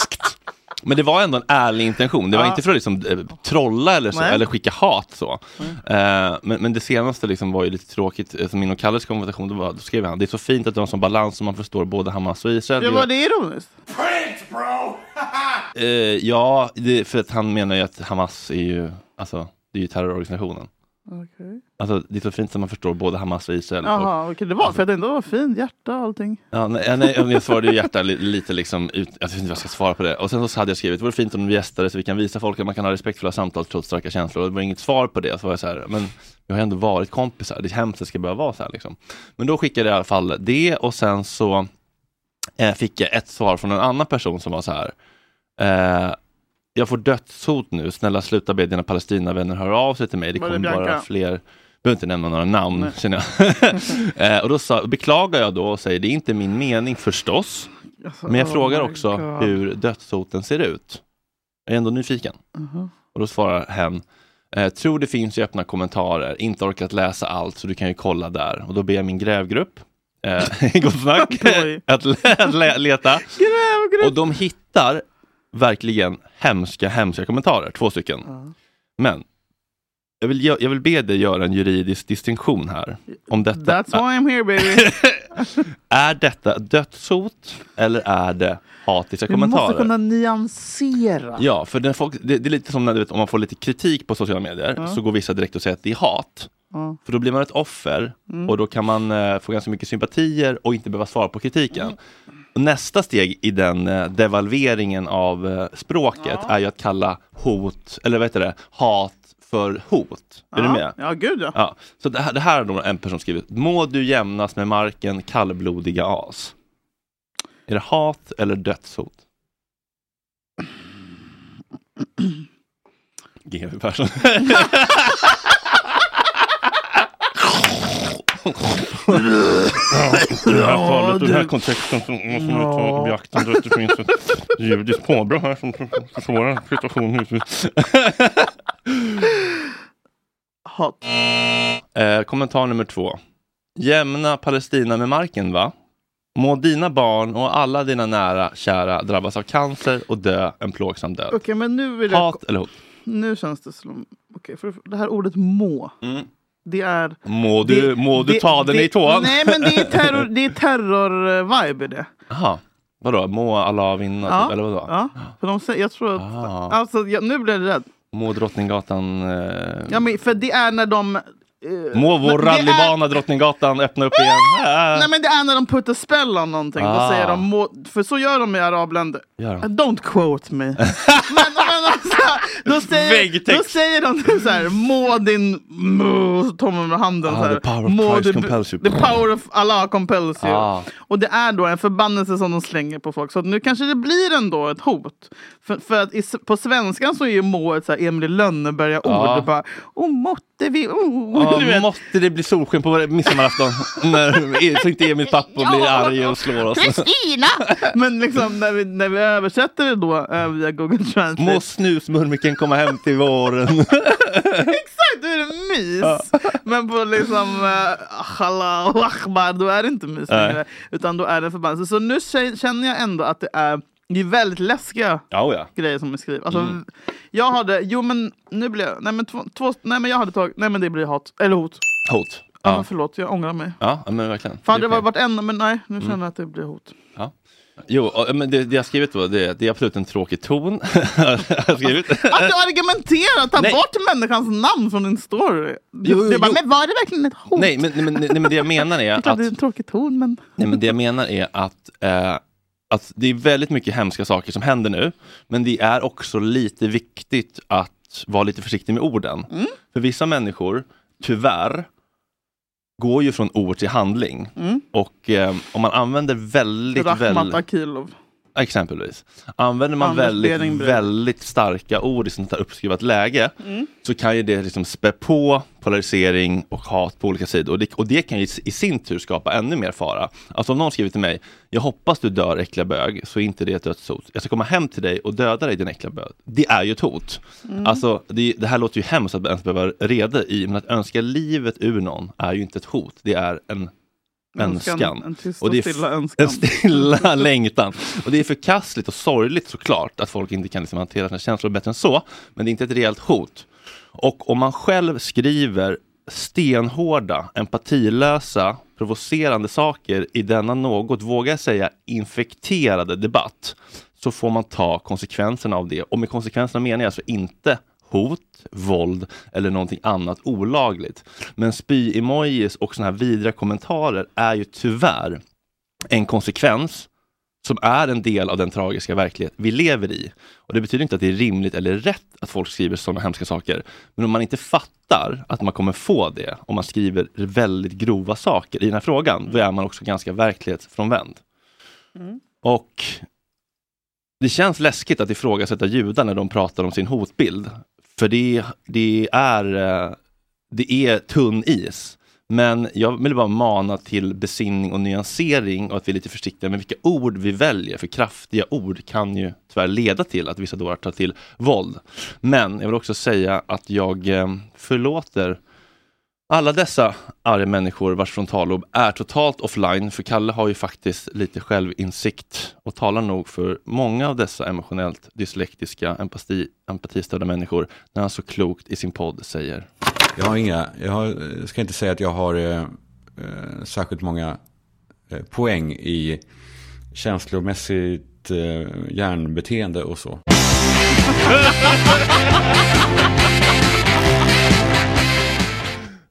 Men det var ändå en ärlig intention. Det var
Ja.
inte för att liksom, eh, trolla eller, så,
Nej.
eller skicka hat. så. Eh, men, men det senaste liksom var ju lite tråkigt. eh, Som min och Kalles konversation, då, var, då skrev han det är så fint att du har en sån balans som man förstår både Hamas och Israel.
Ja, var det ironiskt?
Eh, ja, det, för att han menar ju att Hamas är ju, alltså, det är ju terrororganisationen.
Okej.
Alltså, det är så fint att man förstår både Hamas och Israel. Och,
Jaha, okej, det var för jag tänkte det var fint hjärta och allting.
Ja, nej, nej, jag svarade ju hjärta li, lite liksom, ut, jag vet inte vad jag ska svara på det. Och sen så hade jag skrivit, det vore fint om vi gästade så vi kan visa folk att man kan ha respektfulla samtal trots starka känslor. Och det var inget svar på det. Så var jag så här, men vi har ju ändå varit kompisar, det är hemskt att det ska behöva vara så här liksom. Men då skickade jag i alla fall det och sen så eh, fick jag ett svar från en annan person som var så här. Eh, jag får dödshot nu, snälla sluta be dina Palestinavänner höra av sig till mig. Det
Var det
kommer bara
Bianca?
fler. Behöver inte nämna några namn
Nej.
känner jag. eh, och då sa, beklagar jag då och säger det är inte min mening förstås.
Alltså,
men jag
oh
frågar
my
också
God.
hur dödshoten ser ut. Jag är ändå nyfiken.
Mhm.
Och då svarar hen, eh, tror det finns i öppna kommentarer, inte orkat läsa allt så du kan ju kolla där. Och då ber jag min grävgrupp, eh, gott snack, att, le- att le- leta. Och de hittar verkligen hemska, hemska kommentarer, två stycken. Men jag vill, jag vill be dig göra en juridisk distinktion här. Om detta,
That's why I'm here baby.
är detta dödshot eller är det hatiska
Vi måste
kommentarer?
kunna nyansera.
Ja, för den folk, det, det är lite som när du vet, om man får lite kritik på sociala medier
Ja.
så går vissa direkt och säger att det är hat.
Ja.
För då blir man ett offer
Mm.
och då kan man eh, få ganska mycket sympatier och inte behöva svara på kritiken. Och nästa steg i den eh, devalveringen av eh, språket är ju att kalla hot, eller vad heter det, hat för hot. Är du med?
Ja, gud ja.
Ja, så det här, det här har då en person skrivit. Må du jämnas med marken, kallblodiga as. Är det hat eller dödshot? GW Persson.
I det här fallet och i den här
kontexten så måste
man ju ta i beaktande att det finns ett
judiskt påbrå här som försvårar situationen.
Hat.
Eh, kommentar nummer två. Jämna Palestina med marken, va? Må dina barn och alla dina nära kära drabbas av cancer och dö en plågsam död.
Okej, men nu vill jag...
Hat eller hot?
Nu känns det som... Okej, för det här ordet må. Det är...
Må Mm. du,
det-
må du
det-
ta den
det-
i tån?
Nej, men det är terror, det är terror-vibe i det.
Jaha. Vadå? Må alla vinna?
Ja.
Typ, eller vadå?
Ja, för de säger, jag tror att...
Ah.
Alltså, jag, nu blir jag rädd.
Må Drottninggatan... Eh,
Ja, men, för det är när de... eh,
Må vår
men det är-
rallybana Drottninggatan öppna upp igen. Ah!
Nej men det är när de puttar spell om någonting.
Ah.
Då säger de, må, för så gör de i arabländer.
Gör de?
Uh, Don't quote me. men, men alltså, då, säger, då
Väggtext.
säger de typ så här, må din... Må, så tar man med handen
Ah,
så här.
the power of
må
Christ
du-
compels you.
The power of Allah compels you.
Ah.
Och det är då en förbannelse som de slänger på folk. Så att nu kanske det blir ändå ett hot. För, för att i, s- på svenskan så är ju må ett så här Emil i Lönneberga-ord.
Ja.
Och bara, oh, måtte vi... Oh,
Ja,
du vet.
måtte det bli solsken på midsommarafton. När, så inte Emils pappa blir arg och slår oss.
Kristina! Men liksom, när, vi, när vi översätter det då eh, via Google Translate.
Må snusmurmiken komma hem till våren.
Exakt, då är det mys. Men på liksom eh, Allahu akbar, då är det inte mys
Nej.
längre. Utan då är det förbannelse. Så nu kä- känner jag ändå att det är, det är väldigt läskiga
Ja, oh ja.
grejer som är skrivna. Alltså,
Mm.
Jag hade, jo men nu blir jag, nej men, två, två, nej men jag hade tagit, nej men det blir hat, eller hot.
Hot.
Ja.
Ja.
men förlåt, jag ångrar mig.
ja, men verkligen.
För hade
Det
det
är okej.
varit en, men nej, nu känner
Mm.
jag att det blir hot.
Ja. Jo, och, men det, det jag skrivit då, det, det är absolut en tråkig ton. jag har skrivit.
Att du argumenterar, ta
Nej.
bort människans namn från din story. Du,
Jo, jo,
du bara,
jo.
men var det verkligen ett hot?
Nej, men, nej, men, nej, men det jag menar är
det är klart
att
det är en tråkig ton, men...
Nej, men det jag menar är att, eh, att det är väldigt mycket hemska saker som händer nu. Men det är också lite viktigt att vara lite försiktig med orden.
Mm.
För vissa människor, tyvärr, går ju från ord till handling.
Mm.
Och eh, om man använder väldigt,
Rahmat
väldigt...
Akilov.
Exempelvis. Använder man
Anders
väldigt,
Behring Breivik.
väldigt starka ord i sånt här uppskrivet läge
Mm.
så kan ju det liksom spä på polarisering och hat på olika sidor. Och det, och det kan ju i sin tur skapa ännu mer fara. Alltså om någon skriver till mig, jag hoppas du dör äckliga bög, så är inte det ett dödshot. Jag ska komma hem till dig och döda dig din äckliga bög. Det är ju ett hot.
Mm.
Alltså det, det här låter ju hemskt att ens behöva reda i, men att önska livet ur någon är ju inte ett hot. Det är en
Önskan.
önskan.
En tyst
det
och
är f-
stilla önskan.
En stilla längtan. Och det är förkastligt och sorgligt såklart att folk inte kan liksom hantera sina känslor bättre än så. Men det är inte ett reellt hot. Och om man själv skriver stenhårda, empatilösa, provocerande saker i denna något, vågar jag säga, infekterade debatt så får man ta konsekvenserna av det. Och med konsekvenserna menar jag alltså inte hot, våld eller någonting annat olagligt. Men spy-emojis och såna här vidriga kommentarer är ju tyvärr en konsekvens som är en del av den tragiska verklighet vi lever i. Och Det betyder inte att det är rimligt eller rätt att folk skriver sådana hemska saker. Men om man inte fattar att man kommer få det om man skriver väldigt grova saker i den här frågan, då är man också ganska verklighetsfrånvänd. Och det känns läskigt att ifrågasätta judar när de pratar om sin hotbild. För det, det, är, eh, det är tunn is. Men jag vill bara mana till besinning och nyansering och att vi är lite försiktiga med vilka ord vi väljer. För kraftiga ord kan ju tyvärr leda till att vissa dårar tar till våld. Men jag vill också säga att jag eh, förlåter alla dessa arga människor vars frontallob är totalt offline, för Kalle har ju faktiskt lite självinsikt och talar nog för många av dessa emotionellt dyslektiska, empati, empatistörda människor när han så klokt i sin podd säger
Jag har inga, jag har, jag ska inte säga att jag har eh, eh, särskilt många eh, poäng i känslomässigt eh, hjärnbeteende och så.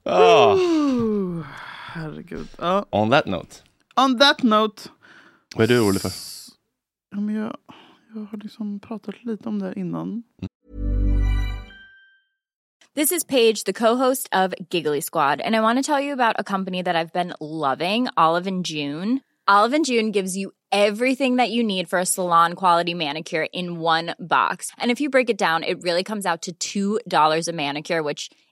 Ah.
Ooh, herregud. Ja.
On that note,
On that note.
vad är du orolig för?
Ja, men jag, jag har liksom pratat lite om det här innan.
This is Paige, the co-host of Giggly Squad, and I want to tell you about a company that I've been loving, Olive and June. Olive and June gives you everything that you need for a salon quality manicure in one box. And if you break it down, it really comes out to $2 a manicure, which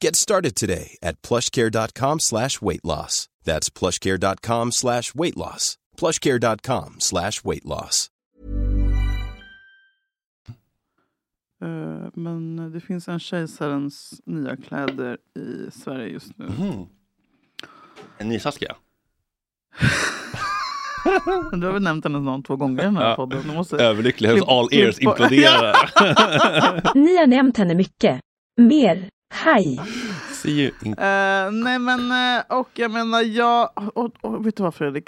Get started today at plushcare.com slash weight loss. That's plushcare.com slash weight loss. plushcare.com slash weight loss.
Eh, men det finns en kejsarens nya kläder i Sverige just nu.
Hmm. En ny Saskia?
Du har väl nämnt hennes namn två gånger i den här
Ja.
podden. Du måste-
Överlycklig, hennes
klipp-
all ears
klippa-
imploderar.
Ni har nämnt henne mycket. Mer. Hej.
See you in-
Eh, nej men, eh, och jag menar jag, och, och, vet du vad Fredrik?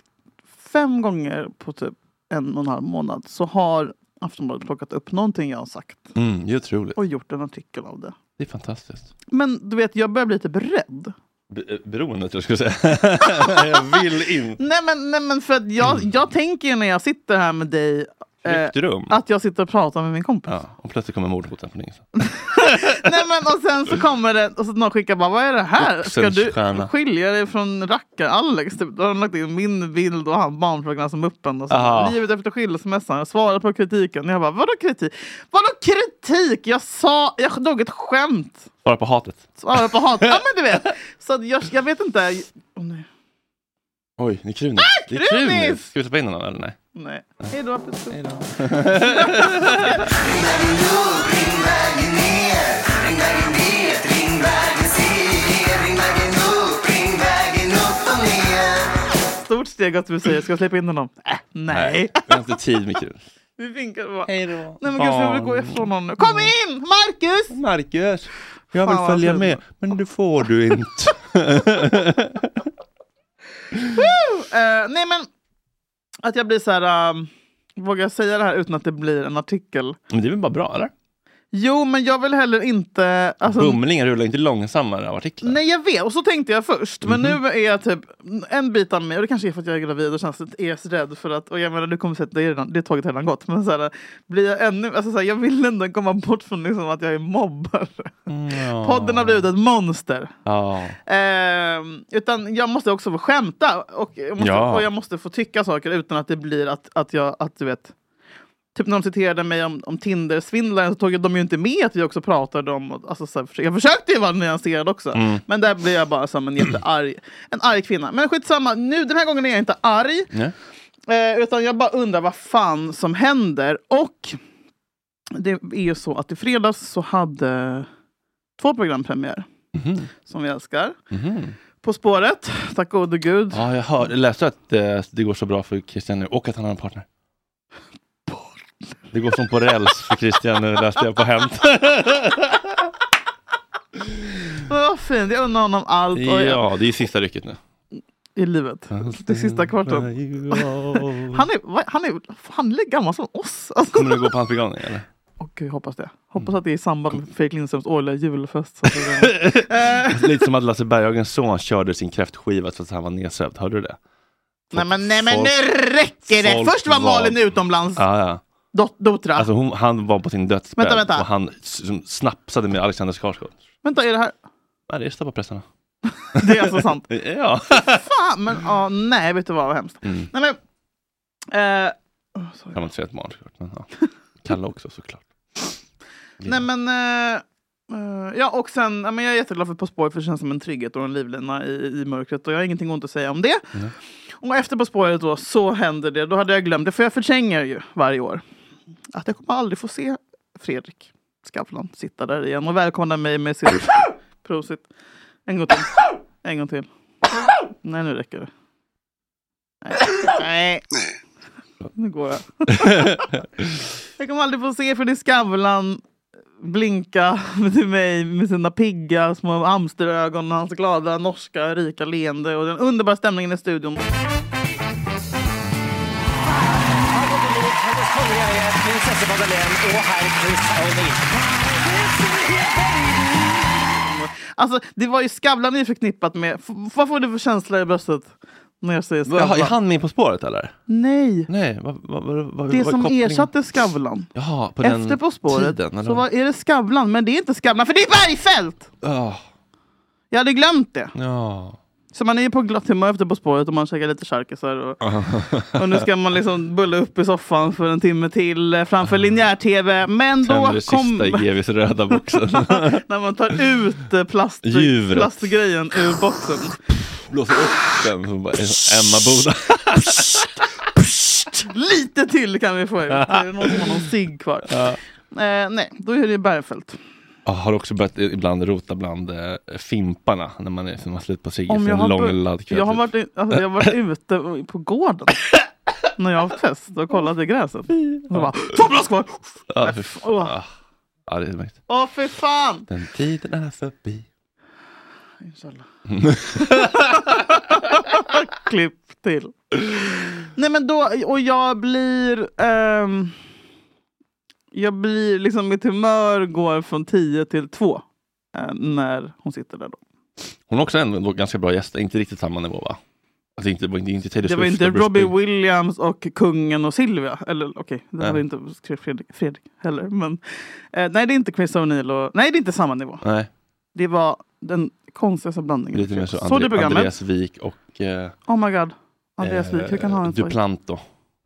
Fem gånger på typ en och en halv månad så har Aftonbladet plockat upp någonting jag har sagt
Mm, det är otroligt.
och gjort en artikel av det.
Det är fantastiskt.
Men du vet, jag börjar bli typ lite beredd.
Be- eh, beroendet, jag skulle säga. jag vill in.
Nej men, nej, men för att jag, jag tänker när jag sitter här med dig eh,
Tryggt rum.
att jag sitter och pratar med min kompis.
Ja, och plötsligt kommer mordhoten från ingenstans.
Nej men och sen så kommer det och så någon skickar bara vad är det här? Ska du
Oxenstierna.
skilja dig från rackar-Alex? Typ. Då har de lagt in min bild och han barnfrågan som uppen. Och så,
Aha.
livet efter skilsmässan. Jag svarade på kritiken. Jag bara vadå kritik? Vadå kritik? Jag sa, jag drog ett skämt.
Svara på hatet.
Svarade på hat. Ja men du vet. Så att jag, jag vet inte. Åh, nej.
Oj, det är Krunis.
Ah,
det är
Krunis!
Krunis! Ska vi släppa in honom eller nej?
nej. Hej då. puss. Stort steg att du säger ska jag släppa in honom? Äh, nej.
Vi har inte tid med Krunis.
Vi vinkar bara.
Hej då.
Nej men gud, jag vill gå
Barn.
ifrån honom nu. Kom
Mm.
in! Marcus!
Marcus!
Fan,
Jag vill
vad
följa
fint.
med, men det får du inte.
Woo! Eh, nej men, att jag blir så här... Um, vågar jag säga det här utan att det blir en artikel?
men det är väl bara bra, eller?
Jo, men jag vill heller inte... Alltså,
Bumlingar rullar inte långsammare av artiklar.
Nej, jag vet. Och så tänkte jag först. Men
Mhm.
nu är jag typ en bit av mig, och det kanske är för att jag är gravid och känns lite är rädd för att, och jag menar du kommer säga att det är, redan, det är tåget har redan gått. Men så här, blir jag ännu, alltså så här, jag vill ändå komma bort från liksom att jag är mobbare. Podden har blivit ett monster.
Ja.
Ehm, utan jag måste också få skämta och jag måste,
Ja.
och jag måste få tycka saker utan att det blir att, att jag, att du vet. Typ när de citerade mig om, om Tinder-svindlaren så tog de ju inte med att vi också pratade om, alltså så här, försö- jag försökte ju vara nyanserad också.
Mm.
Men där blev jag bara som en jättearg, en arg kvinna. Men skitsamma, nu, den här gången är jag inte arg.
Nej.
Eh, utan jag bara undrar vad fan som händer. Och det är ju så att i fredags så hade två programpremiär. Som vi älskar.
Mhm.
På spåret, tack gode gud.
Ja, jag hörde, läste att eh, det går så bra för Christian nu och att han har en partner. Det går som på räls för Christian nu, läste jag på Hänt.
Men vad fint, jag undrar honom allt. Och
Ja, det är sista rycket nu.
I livet. Det sista kvarten. Han är, vad- han är, han är gammal som oss. Alltså,
Kommer du gå på hans begravning eller?
gud, jag hoppas det. Hoppas att det är i samband med Fredrik Lindströms årliga julfest. Så att det- Eh,
Alltså, Lite som att Lasse Berghagens son körde sin kräftskiva trots att han var nedsövd, hörde du det?
nej men, nej, men nu
folk-
räcker det!
folk
Först var
var-
Malin utomlands.
Ja, ja.
Dot, dotra.
Alltså hon, han var på sin dödsbädd
Vänta, vänta.
och han s- som snapsade med Alexander Skarsgård.
Vänta, är det här...
Nej, det är stoppa pressarna.
Det är alltså sant.
ja.
Fan, men ja, nej, vet du vad, vad hemskt.
Mm.
Nej, men, eh,
Kan man inte säga ett barn såklart, men ja. Kalle också såklart.
nej men, eh, eh, ja och sen, ja, men jag är jätteglad för På spåret för det känns som en trygghet och en livlina i, i mörkret och jag har ingenting ont att säga om det.
Nej.
Och efter På spåret då så händer det, då hade jag glömt det för jag förtränger ju varje år att jag kommer aldrig få se Fredrik Skavlan sitta där igen och välkomna mig med sitt prosit. En gång till. En gång till. Nej nu räcker det. Nej. Nej. Nu går jag. jag kommer aldrig få se för det Skavlan blinka till mig med sina pigga små hamsterögon och hans glada norska rika leende och den underbara stämningen i studion.
Prinsesse Madeleine og herr Chris
Alltså, det var ju Skavlan är ju förknippat med... F- vad får du för känsla i bröstet när jag säger
Jaha,
Skavlan?
Är han med På spåret eller?
Nej.
Nej, vad, vad, vad, vad,
Det
vad
som
kopplingen?
ersatte Skavlan.
Jaha, på den
Efter På spåret
tiden, eller?
så var, är det Skavlan, men det är inte Skavlan för det är Bergfeldt!
Ah,
Jag hade glömt det.
ja.
Så man är ju på glatt humör efter På spåret och man käkar lite charkisar. Och, och nu ska man liksom bulla upp i soffan för en timme till eh, framför linjär-tv. Men
Tänder
då
det sista i
kommer...
GVs röda boxen.
när man tar ut eh, plast,
Djuret.
plastgrejen ur boxen.
Blåser upp den. och bara, Emma Boda.
Lite till kan vi få ut. Är det någon som har någon cigg kvar?
Ja.
Eh, nej, då är det ju Bergfeldt.
Jag har också börjat ibland rota bland eh, fimparna när man är, när man har slut på sig
Om
efter
jag,
en
har
lång typ.
bör-
laddkväll.
jag, har varit, i- alltså, jag har varit ute och- på gården när jag har haft fest och kollat i gräset. Och så bara, två blås kvar!
Ja, fy fan.
Åh.
Ah. Ja, det är märkt.
Åh fy fan!
Den tiden är förbi.
Inshallah. Klipp till. Nej men då, och jag blir... ehm, jag blir liksom, mitt humör går från 10 till 2. eh, när hon sitter där då.
Hon är också en ändå ganska bra gäst, inte riktigt samma nivå va? Alltså det är inte, det är inte Taylor
Det var
Swift
inte
och Bruce
Robbie
Springsteen.
Williams och kungen och Silvia. Eller okej, det
Nej.
var inte Fredrik, Fredrik heller. Men, eh, nej, det är inte Chris O'Neill och... Nej, det är inte samma nivå.
Nej,
Det var den konstigaste blandningen.
lite mer så,
Såg du
Andre,
programmet?
Andreas Eh, Wik och eh,
Oh my god. Andreas Wik, hur kan han ha en sån?
Duplanto.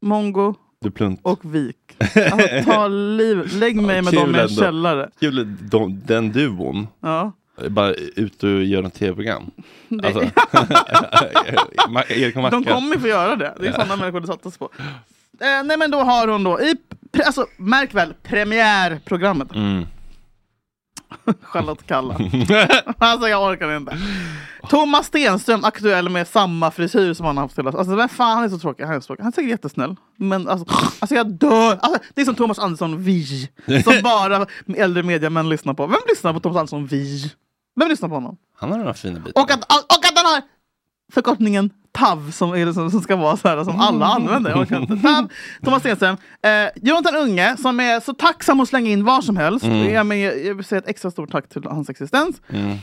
Mongo
Duplunt.
och Wik. Alltså, ta liv. Lägg mig med dem i en
ändå.
källare.
Kul, de, den duon. eh,
Ja.
Bara ut och göra ett tv-program.
Det-
Alltså, Ma- Erik och Mackan.
De kommer få göra det. Det är
Ja.
sådana människor det satsas på. Eh, nej men då har hon då, i, pre, alltså, märk väl, premiärprogrammet.
Mm.
Charlotte Kalla. alltså jag orkar inte. Thomas Stenström aktuell med samma frisyr som han har haft hela... Alltså vem fan, han är så tråkig. Han är, så tråkig. han är säkert jättesnäll. Men alltså, alltså jag dör! Alltså, det är som Thomas Andersson Vi. Som bara äldre mediamän lyssnar på. Vem lyssnar på Thomas Andersson Vi? Vem lyssnar på honom?
Han har några fina bitar.
Och att, och att den har förkortningen TAV som, är det som, som ska vara så här som alla använder. Jag orkar inte. TAV, Thomas Stenström. Eh, Jonathan Unge som är så tacksam att slänga in vad som helst.
Mm.
Jag, men, jag, jag vill säga ett extra stort tack till hans existens.
Mm.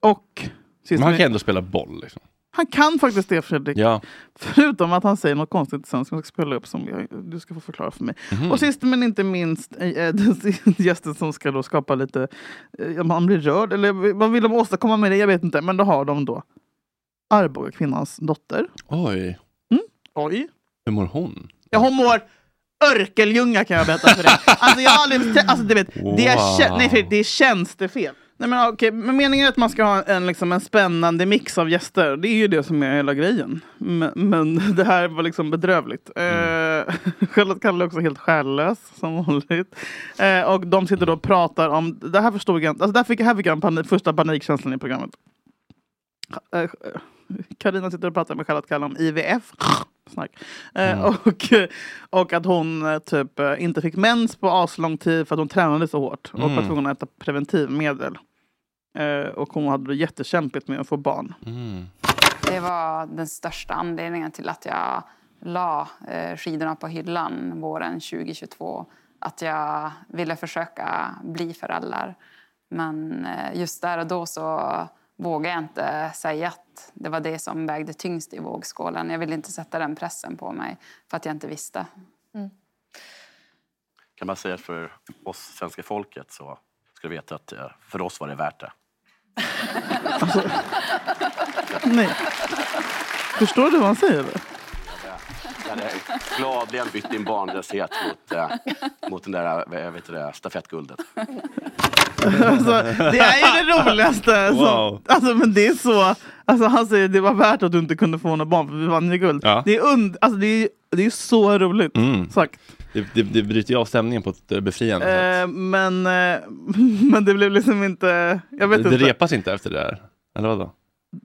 Och sist
Men han
men
kan ändå spela boll. Liksom.
han kan faktiskt det Fredrik.
Ja.
Förutom att han säger något konstigt sen som jag ska spela upp som jag, du ska få förklara för mig.
Mhm.
Och sist men inte minst eh, den gästen som ska då skapa lite, eh, om han blir rörd eller vad vill de åstadkomma med det? Jag vet inte. Men då har de då Arboga kvinnans dotter.
Oj,
Oj.
hur mår hon?
Ja, hon mår örkeljunga kan jag berätta för dig. Alltså jag har aldrig... trä- Alltså du vet, det är, kä- nej, Fredrik, det är tjänstefel. Nej, men, okej, men meningen är att man ska ha en, liksom, en spännande mix av gäster. Det är ju det som är hela grejen. Men, men det här var liksom bedrövligt. Eh, Charlotte Kalla är också helt själlös som vanligt. Eh, och de sitter då och pratar om... Det här förstod jag inte. Alltså, där fick, här fick jag en panik, första panikkänslan i programmet. Eh, Karina sitter och pratar med Charlotte Kalla om IVF. Snack. Eh,
Mm.
och, och att hon eh, typ eh, inte fick mens på aslång tid för att hon tränade så hårt. Och var
Mm.
tvungen att äta preventivmedel. Eh, och hon hade det jättekämpigt med att få barn.
Mm.
Det var den största anledningen till att jag la eh, skidorna på hyllan våren 2022. Att jag ville försöka bli förälder. Men eh, just där och då så vågade jag inte säga att det var det som vägde tyngst i vågskålen. Jag ville inte sätta den pressen på mig för att jag inte visste.
kan man säga för oss svenska folket så ska du veta att eh, för oss var det värt det.
Nej. Förstår du vad han säger? då?
Jag hade gladeligen bytt din barnlöshet mot, eh, mot den där eh, vet du det, stafettguldet.
Alltså, det är ju det roligaste.
Wow.
Som, alltså, men det är så, alltså, han säger att det var värt att du inte kunde få något barn för vi vann ju guld.
Ja.
Det, är und, alltså, det, är, det är så roligt
Mm.
sagt.
Det, det, det bryter ju av stämningen på ett eh, befriande sätt.
Eh, men, eh, men det blev liksom inte... Jag vet
det,
inte.
det repas inte efter det där? Eller vadå?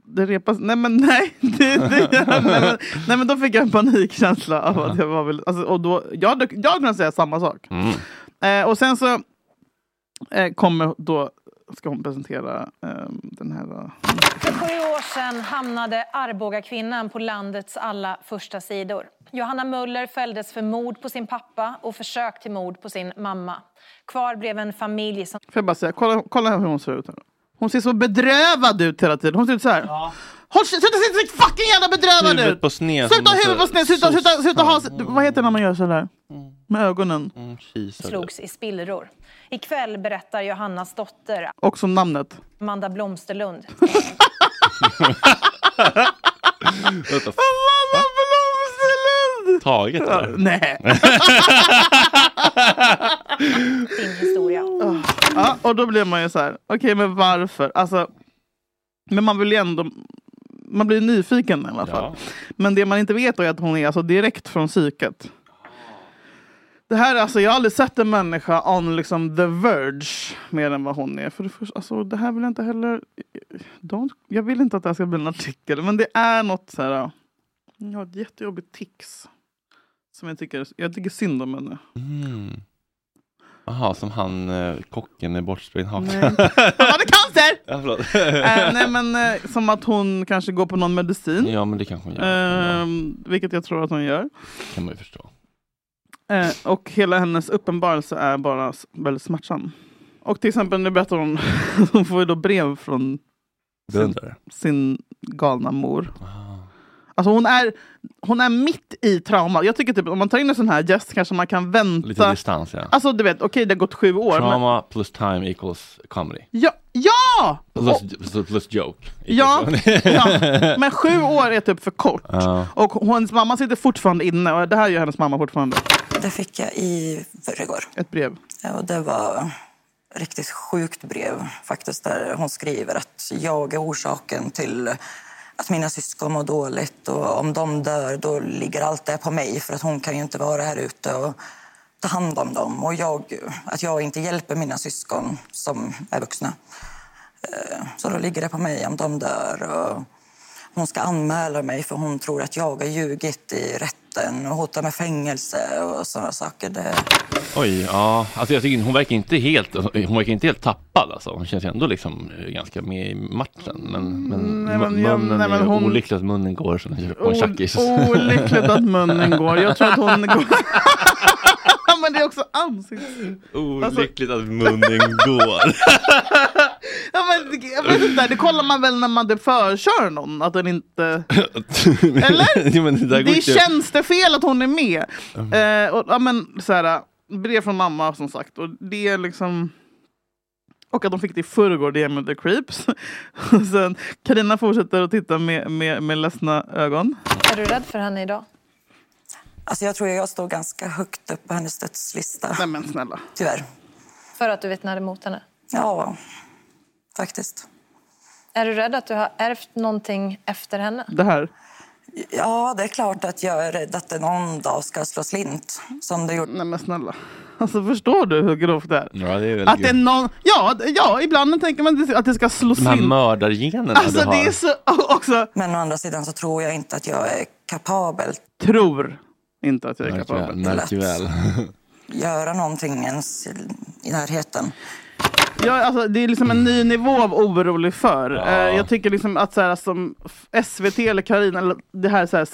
Det repas... Nej men nej! Det, det, nej, men, nej men då fick jag en panikkänsla av att jag var väl... Alltså, och då, jag, hade- jag hade kunnat säga samma sak.
Mm.
Eh, och sen så eh, kommer då... Ska hon presentera eh, den här...
För sju år sedan hamnade Arboga kvinnan på landets alla första sidor. Johanna Möller fälldes för mord på sin pappa och försök till mord på sin mamma. Kvar blev en familj som...
Får jag bara säga, kolla, kolla hur hon ser ut. här. Hon ser så bedrövad ut hela tiden. Hon ser ut så här. Håll, sluta se så fucking jävla bedrövad
Huvudet
ut!
på sned.
Sluta ha huvudet på sned! Sluta,
Så- Mm.
sluta, sluta ha... Vad heter det när man gör så där? Med ögonen.
kisar.
slogs i spillror. Ikväll berättar Johannas dotter
Också namnet.
Amanda Blomsterlund.
Amanda Blomsterlund!
Taget
Ja,
eller?
Nej.
Din historia.
Ja, och då blir man ju så här. Okej, men varför? Alltså, men man vill ju ändå... Man blir nyfiken i alla fall. Men det man inte vet då är att hon är alltså direkt från psyket. Det här, är alltså, jag har aldrig sett en människa on liksom, the verge mer än vad hon är. För det, första, alltså, det här vill jag inte heller... Don't, jag vill inte att det här ska bli en artikel, men det är något så här... Jag har ett jättejobbigt tics. Som jag tycker, jag tycker synd om henne.
Mm. Jaha, som han eh, kocken med bortsprängd
Nej.
haka.
Han hade cancer!
ja, förlåt.
Eh, nej men eh, som att hon kanske går på någon medicin.
Ja, men det kanske hon
gör. vilket jag tror att hon gör.
kan man ju förstå.
Eh, och hela hennes uppenbarelse är bara s- väldigt smärtsam. Och till exempel nu berättar hon, hon får ju då brev från sin,
Beundrare.
sin galna mor. Alltså hon är, hon är mitt i trauma. Jag tycker typ om man tar in en sån här gäst kanske man kan vänta.
Lite distans ja.
Alltså du vet, okej det har gått sju år. Men,
Trauma plus time equals comedy.
ja! ja!
Plus, plus, plus joke.
Ja, ja, men sju år är typ för kort.
Liksom. Ja.
Och hennes mamma sitter fortfarande inne och det här gör hennes mamma fortfarande.
Det fick jag i förrgår.
Ett brev.
Och det var ett riktigt sjukt brev faktiskt där hon skriver att jag är orsaken till att mina syskon mår dåligt och om de dör då ligger allt det på mig för att hon kan ju inte vara här ute och ta hand om dem och jag, att jag inte hjälper mina syskon som är vuxna. Eh, Så då ligger det på mig om de dör. Och hon ska anmäla mig för hon tror att jag har ljugit i rätten och hotar med fängelse och sådana saker. Det...
Oj, ja. Alltså jag tycker hon verkar inte helt, alltså, hon verkar inte helt tappad alltså. Hon känns ju ändå liksom eh, ganska med i matchen. Men, men,
Mm, Nej, men
mu-
jag-
munnen
nej, men
är
hon-
olyckligt att munnen går som på en
O-
tjackis.
Olyckligt att munnen går. Jag tror att hon går... men det är också ansikts... Alltså-
Olyckligt att munnen går.
Ja, men, jag vet inte, det kollar man väl när man det förkör någon? Att den inte... Eller?
Ja, men det där går
det
inte- Mm.
känns det fel att hon är med. Eh, och, ja, men, så här, brev från mamma som sagt. Och det är liksom... Och att de fick det i förrgår, det är med The Creeps. Och sen, Carina fortsätter att titta med, med, med ledsna ögon.
Är du rädd för henne idag?
Alltså jag tror jag står ganska högt upp på hennes dödslista. Nej
men snälla.
Tyvärr.
För att du vittnade mot henne?
Ja, faktiskt.
Är du rädd att du har ärvt någonting efter henne?
Det här?
Ja, det är klart att jag är rädd att det någon dag ska slå slint. Som det gjorde.
Nej men snälla. Alltså förstår du hur grovt det är?
Ja, det är väldigt
Att det är någon, ja, d- ja, ibland tänker man att det- att det ska slå
De här
slint.
mördargenerna
Alltså,
du har.
det är så, också...
Men å andra sidan så tror jag inte att jag är kapabel
Tror inte att jag är kapabel.
Märk väl.
att göra någonting ens i närheten.
Ja, alltså, det är liksom en ny nivå av orolig för. Eh, jag tycker liksom att så här, som f- SVT eller Karina eller det här, så här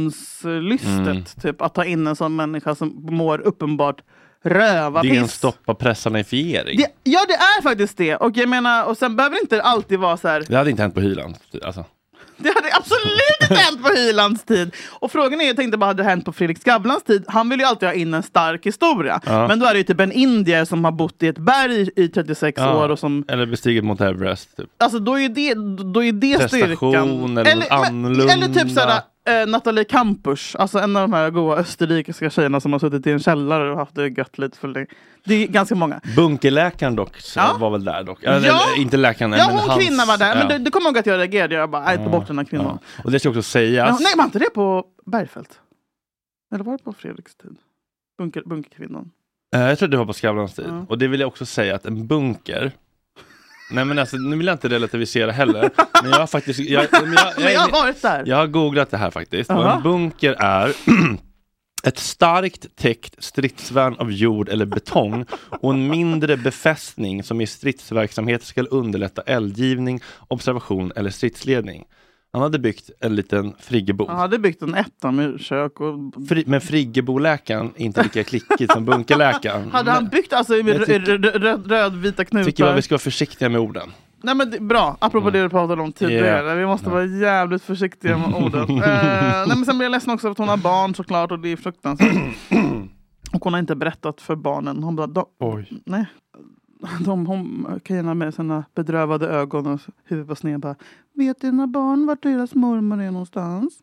sensationslystet,
Mm.
typ, att ta in en sån människa som mår uppenbart röva
Det är en stoppa pressanifiering.
det, Ja, det är faktiskt det. Och jag menar, och sen behöver det inte alltid vara så här.
Det hade inte hänt på Hyland. Alltså.
Det hade absolut inte hänt på Hylands tid. Och frågan är, jag tänkte bara, hade det hänt på Fredrik Skavlans tid? Han vill ju alltid ha in en stark historia.
Ja.
Men då är det ju typ en indier som har bott i ett berg i 36 år och som
Eller bestigit mot Everest. Typ.
Alltså då är det, då är det
Prestation
styrkan.
eller
men- eller
annorlunda.
typ såhär, eh, Nathalie Kampusch, alltså en av de här goa österrikiska tjejerna som har suttit i en källare och haft det gött lite för länge. Det är ganska många.
Bunkerläkaren dock så var väl där dock. Eller,
Ja.
Inte läkaren.
ja,
men
hon
hans-
kvinnan var där. Men
ja.
du, du kommer ihåg att jag reagerade. Jag bara, nej, ta bort den här kvinnan.
Och det ska också
Men,
sägas.
nej, var inte det på Bergfeldt? Eller var det på Fredriks tid? Bunker, bunkerkvinnan.
Eh, Jag tror det var på Skavlans tid.
Ja.
Och det vill jag också säga att en bunker Nej men alltså, nu vill jag inte relativisera heller. men jag har faktiskt... Jag, men jag,
Men jag har varit där.
Jag har googlat det här faktiskt. Och
Jaha.
en bunker är ett starkt täckt stridsvärn av jord eller betong och en mindre befästning som i stridsverksamhet ska underlätta eldgivning, observation eller stridsledning. Han hade byggt en liten friggebod.
Han hade byggt en etta med kök och...
Fri, men friggeboläkaren är inte lika klickig som bunkerläkaren.
Hade han byggt alltså i
Jag
rö-
tycker-
rö- rö- rödvita
Jag tycker bara
knutar?
vi ska vara försiktiga med orden.
Nej men det, bra, apropå det du pratade om tidigare. Vi måste vara jävligt försiktiga med orden. Eh, nej, men sen blir jag ledsen också för att hon har barn såklart och det är fruktansvärt. och hon har inte berättat för barnen. Hon bara, de,
Oj.
nej. De, hon, tjejerna med sina bedrövade ögon och huvud på sned bara Vet dina barn vart deras mormor är någonstans?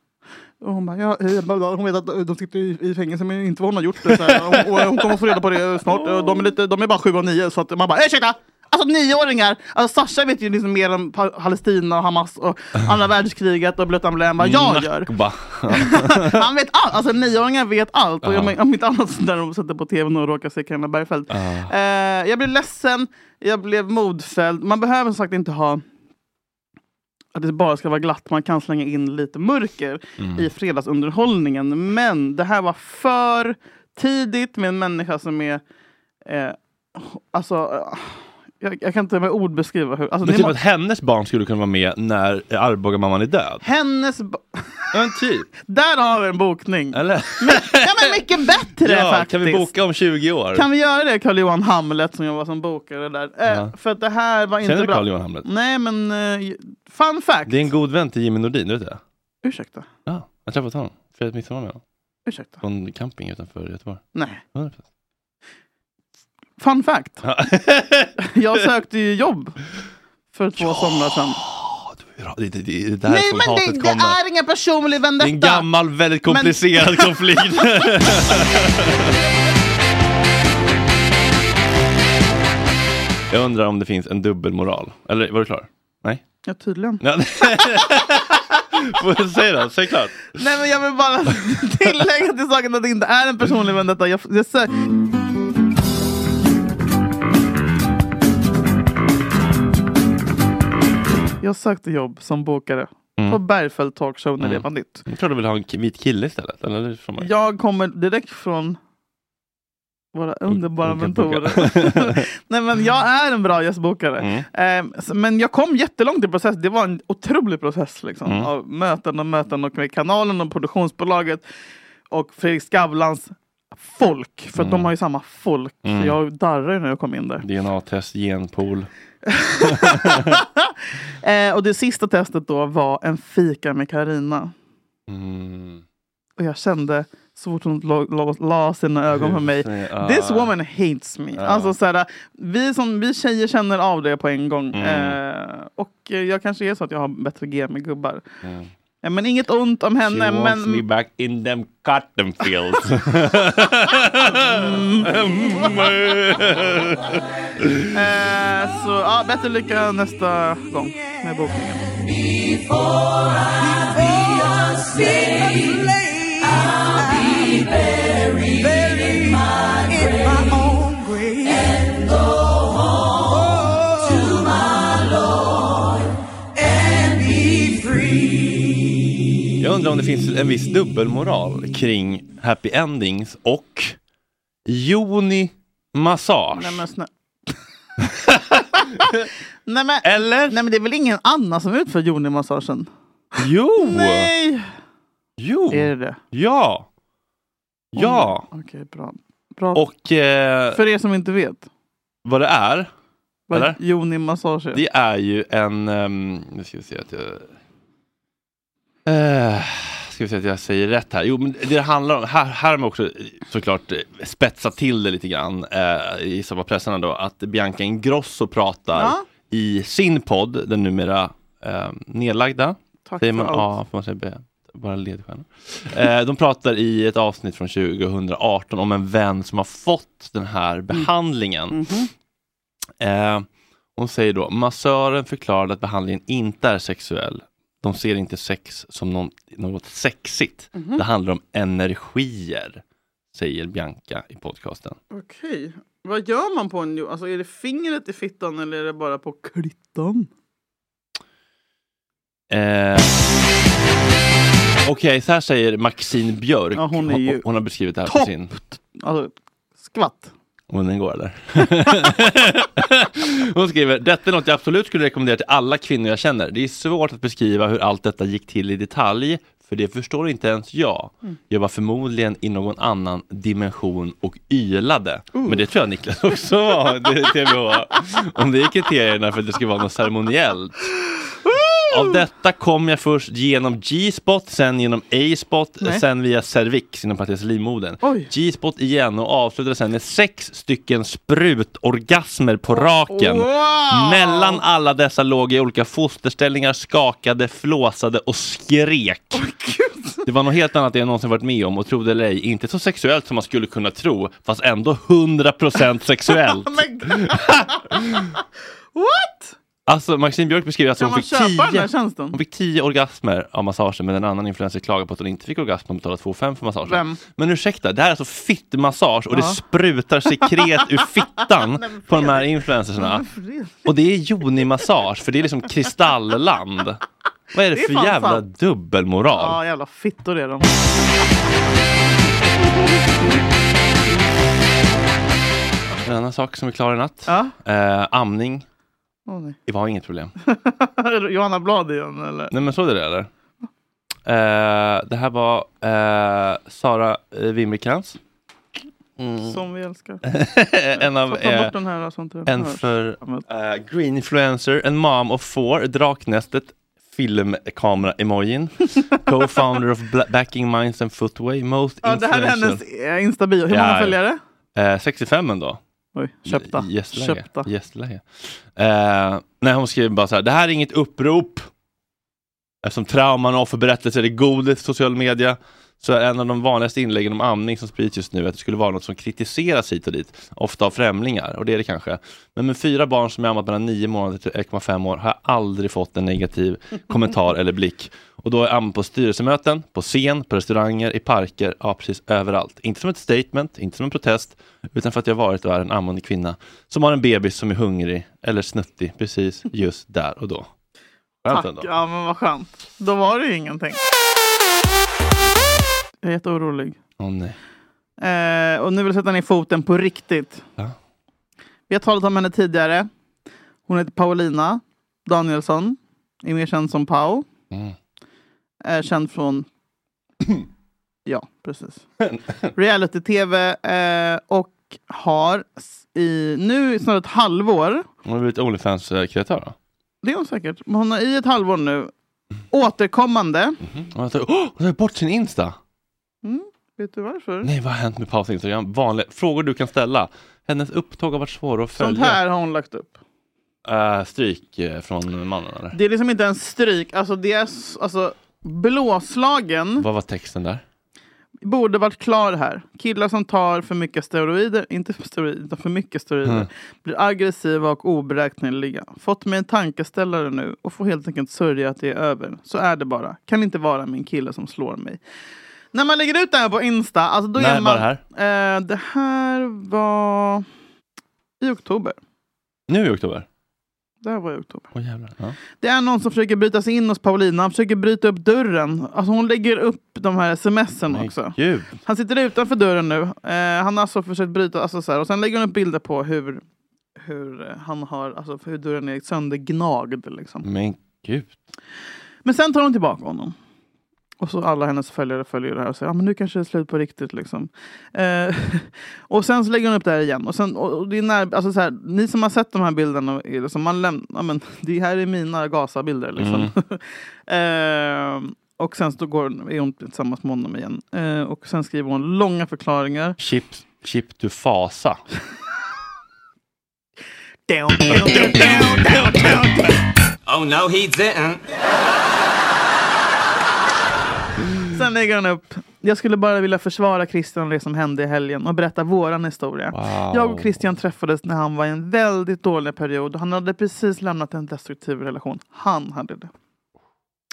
Och hon bara, ja, eh, bla, bla. hon vet att de sitter i, i fängelse men inte vad hon har gjort. Det, så här. Och, och hon kommer få reda på det snart. Och De är, lite, de är bara sju och nio så att man bara, ursäkta! Alltså nioåringar! Alltså Sasha vet ju liksom mer om Pa- Palestina och Hamas och andra världskriget och blött emblem än vad jag gör.
Nakba.
Han vet allt! Alltså nioåringar vet allt. Och jag,
Ja.
men- om inte annat så när de sätter på tvn och råkar se Camilla Bergfeldt.
Ja.
Eh, jag blev ledsen, jag blev modfälld. Man behöver som sagt inte ha att det bara ska vara glatt. Man kan slänga in lite mörker
Mm.
i fredagsunderhållningen. Men det här var för tidigt med en människa som är... Eh, alltså, eh, jag, jag kan inte med ord beskriva hur... Alltså,
men
ni
typ
må-
att hennes barn skulle kunna vara med när Arbogamamman är död.
hennes... ba-
En typ.
Där har vi en bokning!
Eller?
Men, ja, men mycket bättre
ja,
faktiskt!
Kan vi boka om 20 år?
Kan vi göra det Carl-Johan Hamlet som jag var som bokare där? Eh,
Ja.
För att det här var inte
Känner du
bra.
Carl-Johan Hamlet?
Nej men eh, fun fact.
Det är en god vän till Jimmy Nordin, du vet det?
Ursäkta?
Ja, jag har träffat honom. Firat midsommar med honom.
Ursäkta?
Från camping utanför Göteborg.
Nej.
100%.
Fun fact. jag sökte ju jobb för två somrar sedan.
Ja, Det, det, det, det är där
Nej
som
men
hatet
det, det
kommer.
är ingen personlig
Det
vendetta.
är en gammal, väldigt
Men-
komplicerad konflikt. jag undrar om det finns en dubbelmoral. Eller var du klar? Nej?
Ja tydligen.
Ja, Får- Säg då, säg klart.
Nej men jag vill bara tillägga till saken att det inte är en personlig vendetta. Jag, jag sö- Jag sökte jobb som bokare
Mm.
på Bergfeldt Talkshow när det
Mm.
var nytt.
Jag tror du vill ha en ki- vit kille istället. Eller? Eller från mig.
Jag kommer direkt från våra underbara
Mm, Olika bokare.
mentorer. Nej, men jag är en bra gästbokare.
Mm.
Ehm, s- men jag kom jättelångt i processen. Det var en otrolig process. Liksom,
Mm.
Av möten och möten och med kanalen och produktionsbolaget och Fredrik Skavlans folk. För att
Mm.
de har ju samma folk.
Mm.
Så jag darrar ju när jag kom in där.
DNA-test, genpool.
Eh, och det sista testet då var en fika med Karina.
Mm.
Och jag kände så fort hon la, la, la sina ögon på mig.
Ja.
This woman hates me.
Ah. Ja.
Alltså, så här, vi, som, vi tjejer känner av det på en gång.
Mm.
Eh, och eh, jag kanske är så att jag har bättre G med gubbar.
Mm.
Eh, men inget ont om
She
henne.
wants me
Men,
back in them cotton fields. Mm.
eh, så ja, bättre lycka nästa gång med bokningen.
Jag undrar om det finns en viss dubbelmoral kring happy endings och Joni Massage.
Nej, men snä- nej, men, Eller? Nej men det är väl ingen annan som utför Joni-massagen?
Jo!
Nej!
Jo!
Är det det?
Ja! Ja!
Okej, bra. bra.
Och eh,
För er som inte vet.
vad det är,
Vad
eller?
Joni-massage är.
det är ju en... ehm, nu ska vi se att jag... Eh, ska vi se att jag säger rätt här. Jo, men det handlar om, här, här har man också såklart eh, spetsat till det lite grann eh, i samma pressarna då, att Bianca Ingrosso pratar
Ja.
i sin podd, den numera eh, nedlagda.
Tack
säger
för
man
allt.
A, får man säga B? Bara ledstjärna. Eh, de pratar i ett avsnitt från 2018 om en vän som har fått den
Mm.
här behandlingen.
Mhm.
Eh, hon säger då, massören förklarade att behandlingen inte är sexuell. De ser inte sex som någon, något sexigt.
Mhm.
Det handlar om energier, säger Bianca i podcasten.
Okej. Vad gör man på en jo? Alltså är det fingret i fittan eller är det bara på klittan?
Eh, Okej, så här säger Maxine Björk.
Ja, hon är ju
hon, hon har beskrivit det här
topp!
på sin...
Alltså skvatt.
Om den går eller? Hon skriver, detta är något jag absolut skulle rekommendera till alla kvinnor jag känner. Det är svårt att beskriva hur allt detta gick till i detalj, för det förstår inte ens jag.
Mm.
Jag var förmodligen i någon annan dimension och ylade.
Uh.
Men det tror jag Niklas också var, det, TBH. Om det är kriterierna för att det ska vara något ceremoniellt. Av detta kom jag först genom G-spot, sen genom A-spot,
Nej.
sen via cervix inom parentes livmodern. G-spot igen och avslutade sen med sex stycken sprutorgasmer på raken.
Wow!
Mellan alla dessa låg jag i olika fosterställningar, skakade, flåsade och skrek. det var något helt annat än jag någonsin varit med om och trodde eller ej, inte så sexuellt som man skulle kunna tro, fast ändå 100% sexuellt.
Men gud. What?
Alltså Maxine Björk beskriver att
Kan
hon
man
fick,
köpa den här
tio,
tjänsten?
hon fick tio orgasmer av massagen men en annan influencer klagade på att hon inte fick orgasm och betalade 2,5 för massagen.
Vem?
Men ursäkta, det här är alltså fittmassage och det
Ja.
sprutar sekret ur fittan på de här influencerserna. Och det är Joni-massage för det är liksom kristallland. Vad är det,
Det är
för
fan
jävla
sant.
dubbelmoral?
Ja, jävla fittor är de.
En annan sak som är klar i natt. Eh, amning.
Åh, nej.
Det var inget problem.
Johanna Blad igen eller?
Nej men såg du det eller? Eh, det här var eh, Sara eh, Wimmercrantz.
Som vi älskar.
Mm. en av
Ta- ta bort
eh,
den här, så inte den
en
hörs.
för eh, green influencer, en mom of four, Draknästet, filmkamera-emojin, co-founder of Bla- Backing Minds and Footway, most
Ja, det här är
influential.
hennes eh, instabio. Hur många
Ja,
följare?
Eh, 65 ändå.
Oj, köpta.
Gästläge.
Köpta.
Gästläge. Eh, nej, hon skriver bara så här, det här är inget upprop. Eftersom trauman och offerberättelser är godis i social media så är en av de vanligaste inläggen om amning som sprids just nu att det skulle vara något som kritiseras hit och dit, ofta av främlingar, och det är det kanske. Men med fyra barn som jag ammat mellan 9 månader till 1,5 år har jag aldrig fått en negativ kommentar eller blick. Och då är jag ammat på styrelsemöten, på scen, på restauranger, i parker, ja precis överallt. Inte som ett statement, inte som en protest, utan för att jag varit och är en ammande kvinna som har en bebis som är hungrig eller snuttig precis just där och då. Skönt
Tack.
ändå.
Ja, men vad skönt. Då var det ju ingenting. Jag är jätteorolig.
Åh, nej.
Eh, och nu vill jag sätta ner foten på riktigt.
Ja.
Vi har talat om henne tidigare. Hon heter Paulina Danielsson. Är mer känd som Pau.
Mm.
Eh, känd från... ja, precis. Reality-tv. Eh, och har s- i nu i snart ett halvår
Hon har blivit Onlyfans-kreatör då?
det är hon säkert. Men hon har i ett halvår nu återkommande.
Mm-hmm. Hon har tagit- Åh, hon har tagit bort sin Insta!
Mm, vet du varför?
Nej, vad har hänt med Paus Instagram? Vanliga frågor du kan ställa. Hennes upptåg har varit svåra att
Sånt
följa.
här har hon lagt upp.
Eh, stryk eh, från mannen eller?
Det är liksom inte en stryk. Alltså, det är s- alltså, blåslagen
Vad var texten där?
borde varit klar här. Killar som tar för mycket steroider, inte för steroider, utan för mycket steroider,
Mm.
blir aggressiva och oberäkneliga. Fått mig en tankeställare nu och får helt enkelt sörja att det är över. Så är det bara. Kan inte vara min kille som slår mig. När man lägger ut det här på Insta, alltså då
När
är
var
man...
det här?
Eh, det här var i oktober.
Nu i oktober?
Det här var i oktober.
Åh jävlar. Ja.
Det är någon som försöker bryta sig in hos Paulina. Han försöker bryta upp dörren. Alltså hon lägger upp de här smsen också.
Gud.
Han sitter utanför dörren nu. Eh, han har alltså försökt bryta. Alltså så här. Och sen lägger hon upp bilder på hur, hur, eh, han har, alltså hur dörren är söndergnagd. Liksom.
Men gud.
Men sen tar hon tillbaka honom. Och så alla hennes följare följer det här och säger ah, men nu kanske det är slut på riktigt. Liksom. Eh, och sen så lägger hon upp det här igen. Och sen, och och det är när, alltså så här, ni som har sett de här bilderna, är liksom, man läm- ja, men, det här är mina Gaza-bilder. Liksom. eh, och sen så går, hon- är hon tillsammans med honom igen. Eh, och sen skriver hon långa förklaringar.
Chip, chip to fasa.
Down, down, down, down, down, down, down.
Oh no, he didn't.
Sen lägger han upp. Jag skulle bara vilja försvara Christian och det som hände i helgen och berätta våran historia. Jag och Christian träffades när han var i en väldigt dålig period. Han hade precis lämnat en destruktiv relation. Han hade det.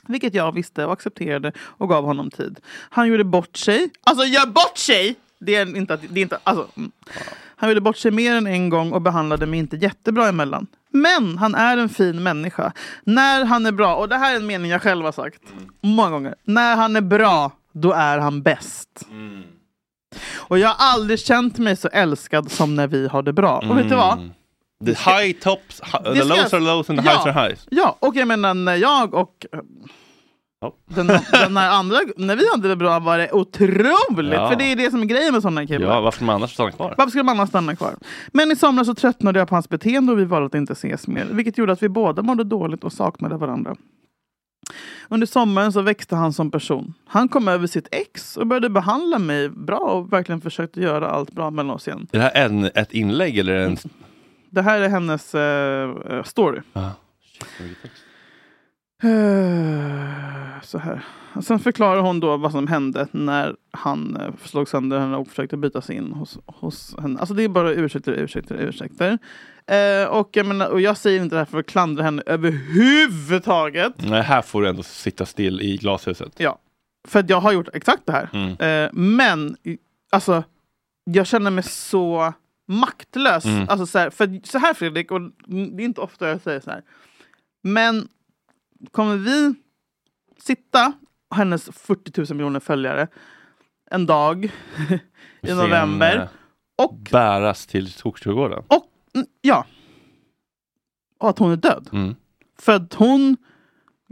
Vilket jag visste och accepterade och gav honom tid. Han gjorde bort sig. Alltså gör bort sig! Det är inte att... Det är inte, alltså, mm. Han ville bort sig mer än en gång och behandlade mig inte jättebra emellan. Men han är en fin människa. När han är bra, och det här är en mening jag själv har sagt många gånger. När han är bra, då är han bäst. Och jag har aldrig känt mig så älskad som när vi har det bra. Och vet du vad?
Mm. The high tops, hi-
Det
the
ska-
lows are lows and the
ja,
highs are highs.
Ja, och jag menar när jag och eh, den, den här andra, när vi hade det bra var det otroligt.
Ja.
För det är det som är grejen med sådana killar.
Ja, varför man annars stanna kvar?
Varför skulle man annars stanna kvar? Men i somras så tröttnade jag på hans beteende och vi valde att inte ses mer. Vilket gjorde att vi båda mådde dåligt och saknade varandra. Under sommaren så växte han som person. Han kom över sitt ex och började behandla mig bra och verkligen försökte göra allt bra mellan oss igen.
Är det här en, ett inlägg eller en...
Det här är hennes eh, eh, story.
Ah,
Mm. Eh, Så här. Och Sen förklarar hon då vad som hände när han eh, slog sönder henne och försökte byta sig in hos, hos henne. Alltså det är bara ursäkter, ursäkter, ursäkter. Eh, och, jag menar, och jag säger inte det här för att klandra henne överhuvudtaget.
Nej, här får du ändå sitta still i glashuset. Mm.
Ja, för att jag har gjort exakt det här. Eh, men i- alltså, jag känner mig så maktlös.
Mm.
Alltså, så, här, för, så här Fredrik, och det är inte ofta jag säger så här. Men kommer vi sitta, hennes 40 000 miljoner följare, en dag i
Sen,
november.
eh, Bäras till Tokstugården.
Mm, Ja. Och att hon är död.
Mm.
För att hon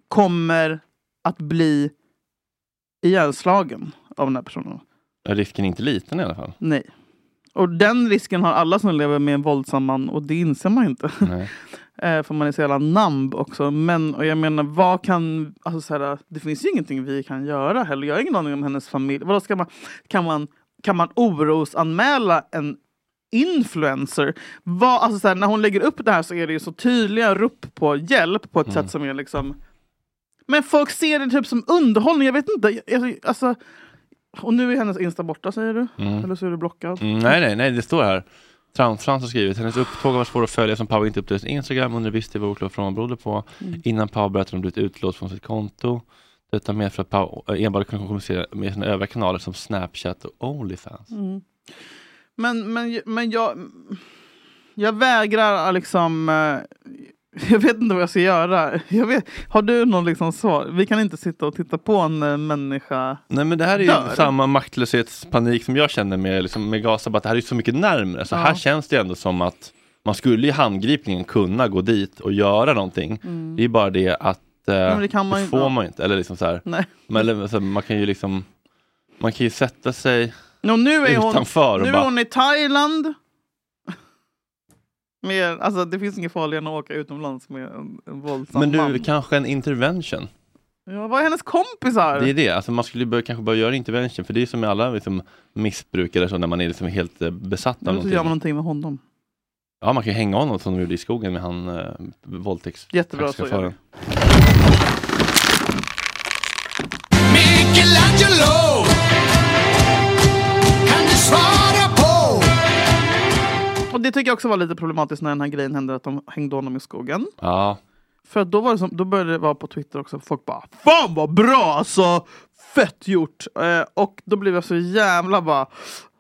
kommer att bli ihjälslagen av den här personen.
Ja, Risken är inte liten i alla fall.
Nej. Och den risken har alla som lever med en våldsam man och det inser man inte. Eh, För man är så jävla namb också. Men och jag menar, vad kan... Alltså så här, det finns ju ingenting vi kan göra heller. Jag har ingen aning om hennes familj. Vadå, ska man, kan, man, kan man orosanmäla en influencer? Vad, alltså så här, när hon lägger upp det här så är det ju så tydliga rop på hjälp på ett sätt som är liksom... Men folk ser det typ som underhållning. Jag vet inte. Jag- Alltså, och nu är hennes Insta borta säger du?
Mm.
Eller så är du blockad?
Mm, nej, nej, nej, det står här. Tramfrans har skrivit hennes upptåg var svår att följa som Pau inte uppdaterade sin Instagram under viss tid var oklart vad hon berodde på.
Mm.
Innan Pau berättade att hon blivit utlåst från sitt konto. Detta medför att Pau eh, enbart kunde kommunicera med sina övriga kanaler som Snapchat och Onlyfans.
Mm. Men, men, men jag, jag vägrar eh, liksom... eh, Jag vet inte vad jag ska göra. Jag vet, har du någon liksom svar? Vi kan inte sitta och titta på en eh, människa.
Nej men det här är ju
Dör.
samma maktlöshetspanik som jag känner med, liksom, med Gaza, att det här är så mycket närmre. Så
Ja.
här känns det ändå som att man skulle i handgripligen kunna gå dit och göra någonting.
Mm.
Det är bara det att eh,
men det kan man ju inte.
får man ju inte. Eller liksom så här.
Nej.
Men, eller, så, man kan ju liksom man kan ju sätta sig
Och nu är hon,
utanför och
nu är
bara,
hon i Thailand. Med, alltså, det finns inget farligare än att åka utomlands med en, en våldsam
men du,
man.
kanske en intervention.
Ja, vad är hennes kompisar?
Det är det, alltså man skulle ju bör, kanske börja göra intervention, för det är ju som med alla liksom, missbrukare, så när man är liksom helt eh, besatt av
Eller så
någonting.
gör man någonting med honom.
Ja, man kan ju hänga honom som de gjorde i skogen med han eh, våldtäkts...
Jättebra, så gör
taxichauffören.
Michelangelo Kan du svara på
Och det tycker jag också var lite problematiskt när den här grejen hände att de hängde honom i skogen.
Ja.
För att då, var det som, då började det vara på Twitter också, folk bara Fan vad bra alltså! Fett gjort! Eh, och då blev jag så jävla bara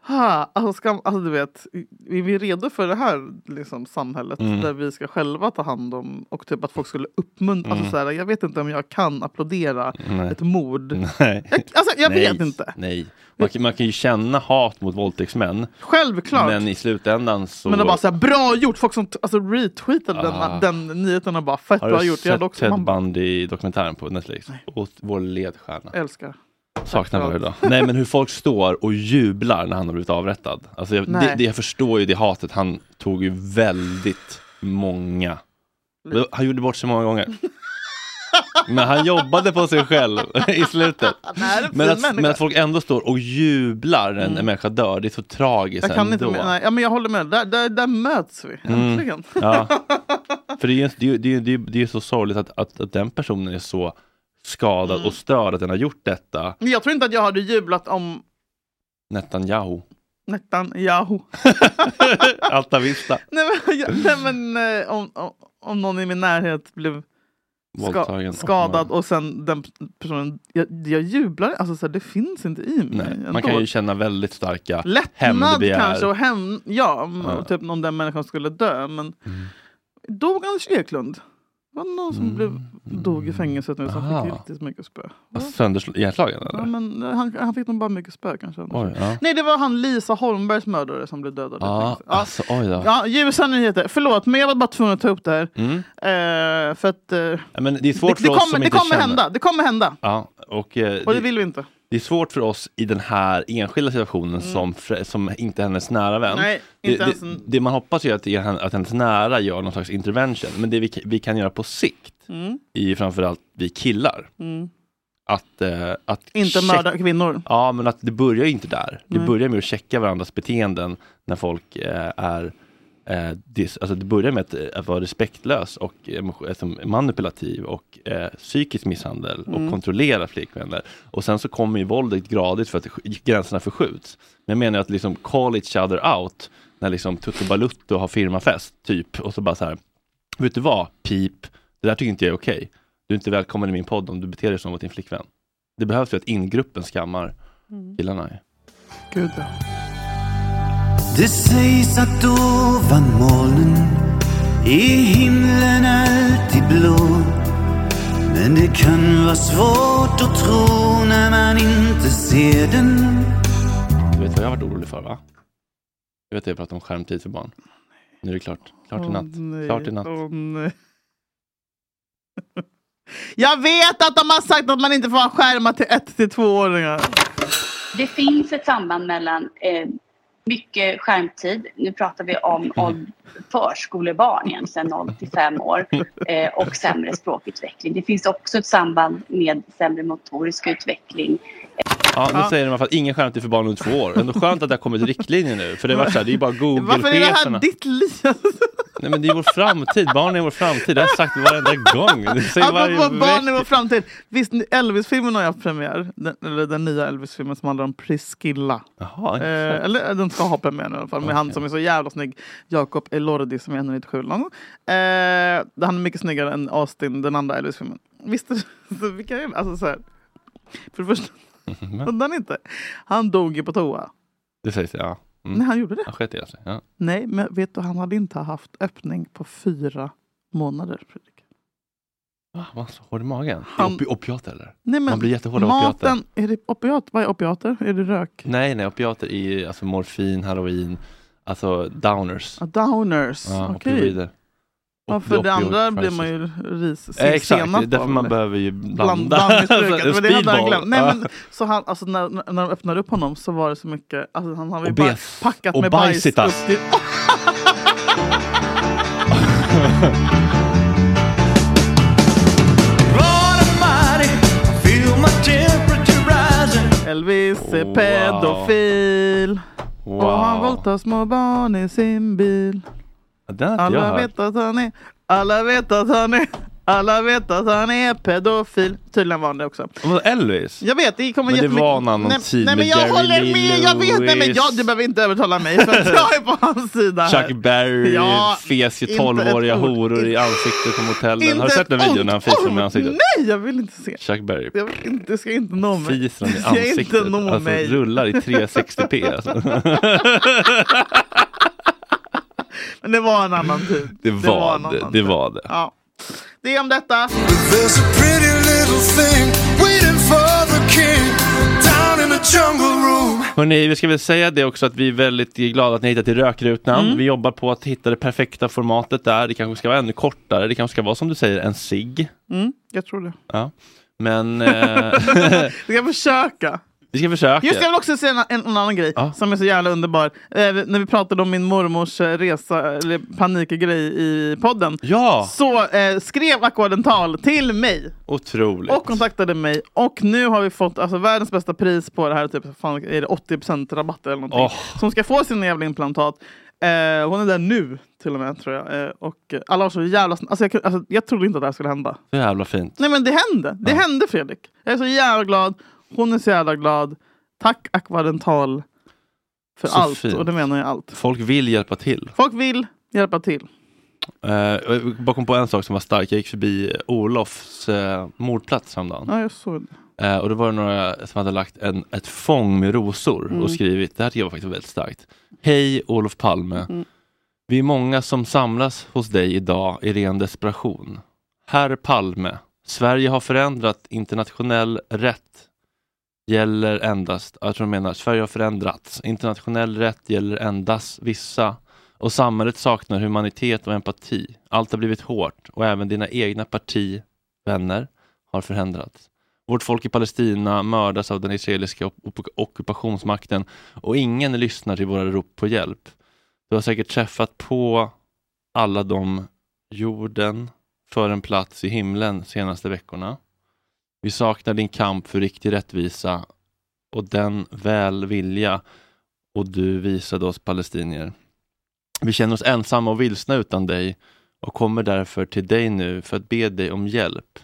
"Ha, alltså, ska, alltså du vet, är vi redo för det här liksom, samhället
Mm.
där vi ska själva ta hand om och typ att folk skulle uppmuntra,
Mm.
alltså, så här, jag vet inte om jag kan applådera
Nej.
ett mord.
Nej.
Jag, alltså, jag
Nej,
vet inte.
Nej. Man, kan- man kan ju känna hat mot våldtäktsmän.
Självklart.
Men i slutändan så...
Men det bara så här, bra gjort! Folk som t- alltså, retweetade den,
Ah.
den nyheten och bara fett
har
bra
du
gjort. Jag hade
sett
också,
Ted
man bara,
Bundy-dokumentären på Netflix? Och vår ledstjärna.
älskar.
Saknar
för
varje dag. Nej men hur folk står och jublar när han har blivit avrättad. Alltså jag,
Nej.
det, det, jag förstår ju det hatet. Han tog ju väldigt många. Han gjorde bort sig många gånger. Men han jobbade på sig själv i slutet.
är en fin
Men
människa.
att,
Mm.
men att folk ändå står och jublar när en människa dör, det är så tragiskt
Jag kan
ändå.
inte med, nej, ja, men jag håller med. Där, där, där möts vi
Mm.
äntligen.
Ja. För det är ju det är, ju- det är, ju- det är ju så sorgligt att, att, att den personen är så skadad
Mm.
och störd att den har gjort detta.
Men jag tror inte att jag hade jublat om
Netanyahu.
Netanyahu.
Altavista.
Nej men, jag- nej, men eh, om, om, om någon i min närhet blev
Våldtagen.
skadad och sen den personen, jag, jag jublar, alltså så här, det finns inte i mig.
Nej,
ändå.
man kan ju känna väldigt starka
Lättnad
hämndbegär.
kanske, och hem, ja, m-
Ja. Mm.
Typ om den människan skulle dö. Men dog Anders Eklund? Var det någon som blev, dog i fängelset nu som
Ah.
fick riktigt mycket spö?
Alltså, Söndersl- Hjärtslagen eller?
Ja, men eh, han, han fick nog bara mycket spö kanske. Anders.
Oj, ja.
Mm. Nej, det var han Lisa Holmbergs mördare som blev dödad. i
Ja,
fängelset.
alltså oj då.
Ja, ljusa nyheter. Förlåt, men jag var bara tvungen att ta upp det här.
Mm.
Eh, för att... eh,
Ja, Men det är svårt
det, det
för
kommer,
oss som
det
inte
kommer
känner.
hända. Det kommer hända.
Ja, och, eh,
Och det vill vi inte.
Det är svårt för oss i den här enskilda situationen
Mm.
som, fr- som inte är hennes nära vän.
Nej,
det,
inte ens
det,
en-
det man hoppas ju att, det är hen- att hennes nära gör någon slags intervention. Men det vi, k- vi kan göra på sikt
Mm.
i framförallt vi killar.
Mm.
Att, eh, att
Inte
check-
mörda kvinnor.
Ja, men att det börjar ju inte där. Det
Nej.
börjar med att checka varandras beteenden när folk eh, är eh, dis- alltså det börjar med att, eh, att vara respektlös och emo- alltså manipulativ och eh, psykisk misshandel
Mm.
och kontrollera flickvänner. Och sen så kommer ju våldet gradigt för att sk- gränserna förskjuts. Men jag menar att liksom call each other out när liksom Tutu Balutto har firmafest, typ, och så bara så här, vet du vad, pip, det där tycker inte jag är okej. Du är inte välkommen i min podd om du beter dig så mot din flickvän. Det behövs ju att ingruppen skammar
Mm.
killarna. ju.
Gud ja.
Det sägs att ovan molnen är himlen alltid blå. Men det kan vara svårt att tro när man inte ser den.
Du vet vad jag har varit orolig för va? Du vet att jag pratar om skärmtid för barn. Nu är det klart. Klart i
Åh,
natt.
nej,
Klart i natt.
åh, nej. Jag vet att de har sagt att man inte får ha skärmar till 1 till 2-åringar.
Det finns ett samband mellan eh, mycket skärmtid, nu pratar vi om, om förskolebarn egentligen, 0 till 5 år, eh, och sämre språkutveckling. Det finns också ett samband med sämre motorisk utveckling.
Ja, nu
Ah.
Ja.
säger de i alla fall ingen skärmtid för barn under två år. Ändå skönt att det har kommit riktlinjer nu. För det, var så här, det är bara
Varför är det här
Google-cheferna.
ditt liv?
Nej men det är vår framtid. Barn är vår framtid. Det har jag sagt varenda gång. Det säger varje
Apropå barn i
vecka.
vår framtid. Visst, Elvis-filmen har jag haft premiär. Den, eller den nya Elvis-filmen som handlar om Priscilla.
Jaha,
eh, eller eh, den ska ha premiär nu i alla fall. Med han som är så jävla snygg. Jakob Elordi som är 197 lång. Eh, han är mycket snyggare än Austin, den andra Elvis-filmen. Visst, så vilka är alltså, så här. För det första, undan inte. Han dog ju på toa.
Mhm, Det sägs ja. Mm.
Nej, han gjorde det.
Han sket i sig. Ja.
Nej, men vet du, han hade inte haft öppning på fyra månader. Fredrik.
Va, var han så hård i magen?
Han-
Opi- opiater eller?
Nej, men
Man blir jättehård av opiater.
maten, är det opiat, Vad är opiater? Är det rök?
Nej, nej, opiater är ju alltså morfin, heroin, alltså downers.
Ah, Downers.
Ja,
Okej.
opioider.
Ja, för det
Opioid
andra blir
crisis.
man ju ris
Eh, Exakt, det
senap
är därför
av.
man behöver ju
Bland
blanda.
bandmissbruket. Men det hade han
Speedball.
glömt. Nej,
Ja.
men, så han, alltså, när, när när de öppnade upp honom så var det så mycket, alltså, han har ju
Och
bara
bes.
packat
Och
med bajs upp
bajsitas.
till... Elvis är
Wow.
pedofil och han
Wow.
våldtar små barn i sin bil.
inte jag
Alla
hört.
vet att han är, alla vet att han är, alla vet att han är pedofil. Tydligen var han det också.
Vadå, Elvis?
Jag vet, det kommer
Men det
jättemycket-
var en annan
nej,
tid
nej,
med
men jag
Jerry
håller
Lee
med, jag vet, nej, men
Lewis.
jag, du behöver inte övertala mig för att jag är på hans sida här.
Chuck Berry
Ja,
fes ju
inte ett
12-åriga
ord.
horor i ansiktet på motellen. Har du
Inte
sett den
ett
videon när han fiser dem i
ord.
ansiktet?
Nej, jag vill inte se.
Chuck Berry
Jag vill inte, det ska inte nå mig.
fiser dem i
Det ska
ansiktet.
inte nå
Alltså
mig.
rullar i 360p. Alltså.
Men det var en annan tid.
Det
var
var
en
det.
annan typ.
Det var det.
Ja. Det är om detta.
There's a pretty little thing waiting for the king down in the jungle room.
Hörrni, vi ska väl säga det också att vi är väldigt glada att ni har hittat till Rökrutan.
Mm.
Vi jobbar på att hitta det perfekta formatet där. Det kanske ska vara ännu kortare. Det kanske ska vara som du säger, en sig.
Mm, jag tror det.
Ja. Men eh,
Vi ska försöka.
vi ska försöka.
Just det, jag vill också säga en, en, en annan grej som är så jävla underbar. Eh, när vi pratade om min mormors eh, resa, eller panikgrej i podden.
Ja.
Så eh, skrev Ackordental till mig.
Otroligt.
Och kontaktade mig. Och nu har vi fått alltså, världens bästa pris på det här. Typ, fan, är det 80% rabatt eller någonting.
Åh.
Som ska få sina jävla implantat. Eh, hon är där nu till och med tror jag. Eh, och eh, alla var så jävla sn- alltså, jag, kunde- alltså, jag trodde inte att det här skulle hända.
Så jävla fint.
Nej men det hände. Det hände Fredrik. Jag är så jävla glad. Hon är så jävla glad. Tack Aquadental för
Så
allt.
fint.
Och det menar jag allt.
Folk vill hjälpa till.
Folk vill hjälpa till.
Eh, jag bara kom på en sak som var stark. Jag gick förbi Olofs eh, mordplats häromdagen.
Ja, jag såg det.
Eh, och då var det några som hade lagt en, ett fång med rosor
Mm.
och skrivit, det här tycker jag var faktiskt väldigt starkt. Hej Olof Palme.
Mm.
Vi är många som samlas hos dig idag i ren desperation. Herr Palme, Sverige har förändrat internationell rätt gäller endast, jag tror de menar, Sverige har förändrats. Internationell rätt gäller endast vissa och samhället saknar humanitet och empati. Allt har blivit hårt och även dina egna partivänner har förändrats. Vårt folk i Palestina mördas av den israeliska op- op- ockupationsmakten och ingen lyssnar till våra rop på hjälp. Du har säkert träffat på alla de jorden för en plats i himlen senaste veckorna. Vi saknar din kamp för riktig rättvisa och den väl vilja och du visade oss palestinier. Vi känner oss ensamma och vilsna utan dig och kommer därför till dig nu för att be dig om hjälp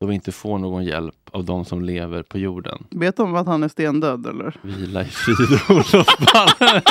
då vi inte får någon hjälp av de som lever på jorden.
Vet de att han är stendöd eller?
Vila i frid, Olof Palme.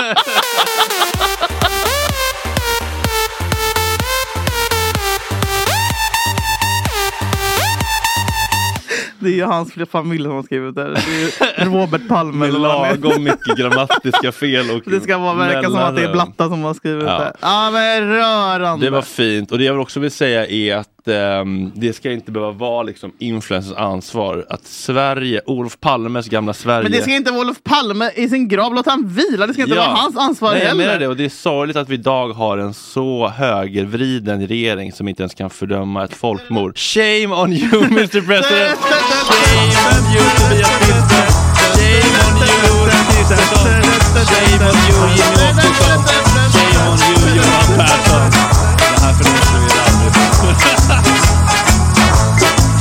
Det är ju hans familj som har skrivit det. här. Det är ju Robert Palme.
Med
eller vad han heter.
lagom mycket grammatiska fel. Och
Det ska vara, verka som att det är
mellanrum.
Blatta som har skrivit
Ja.
det. Ja men rörande.
Det var fint. Och det jag också vill säga är att ehm, det ska inte behöva vara liksom influencers ansvar att Sverige, Olof Palmes gamla Sverige.
men det ska inte vara Olof Palme i sin grav. Låt han vila. Det ska inte vara hans ansvar
Nej, jag menar
heller.
det. Och det är sorgligt att vi idag har en så högervriden regering som inte ens kan fördöma ett folkmord. Shame on you Mr President!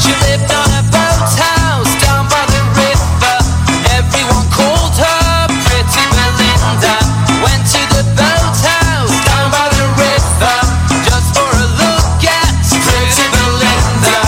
She lived on a boathouse down by the river. Everyone called her Pretty Belinda. Went to the boathouse down by the river just for a look at Pretty Belinda.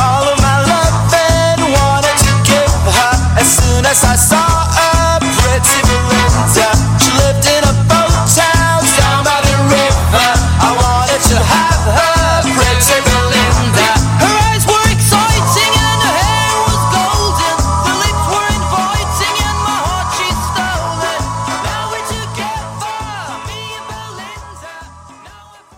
All of my loving wanted to give her as soon as I saw her. Pretty Belinda. She lived in a boathouse down by the river. I wanted to have her. Pretty Belinda. Her eyes were exciting and her hair was golden. The lips were inviting and my heart she stolen. Now we're together, me and Belinda.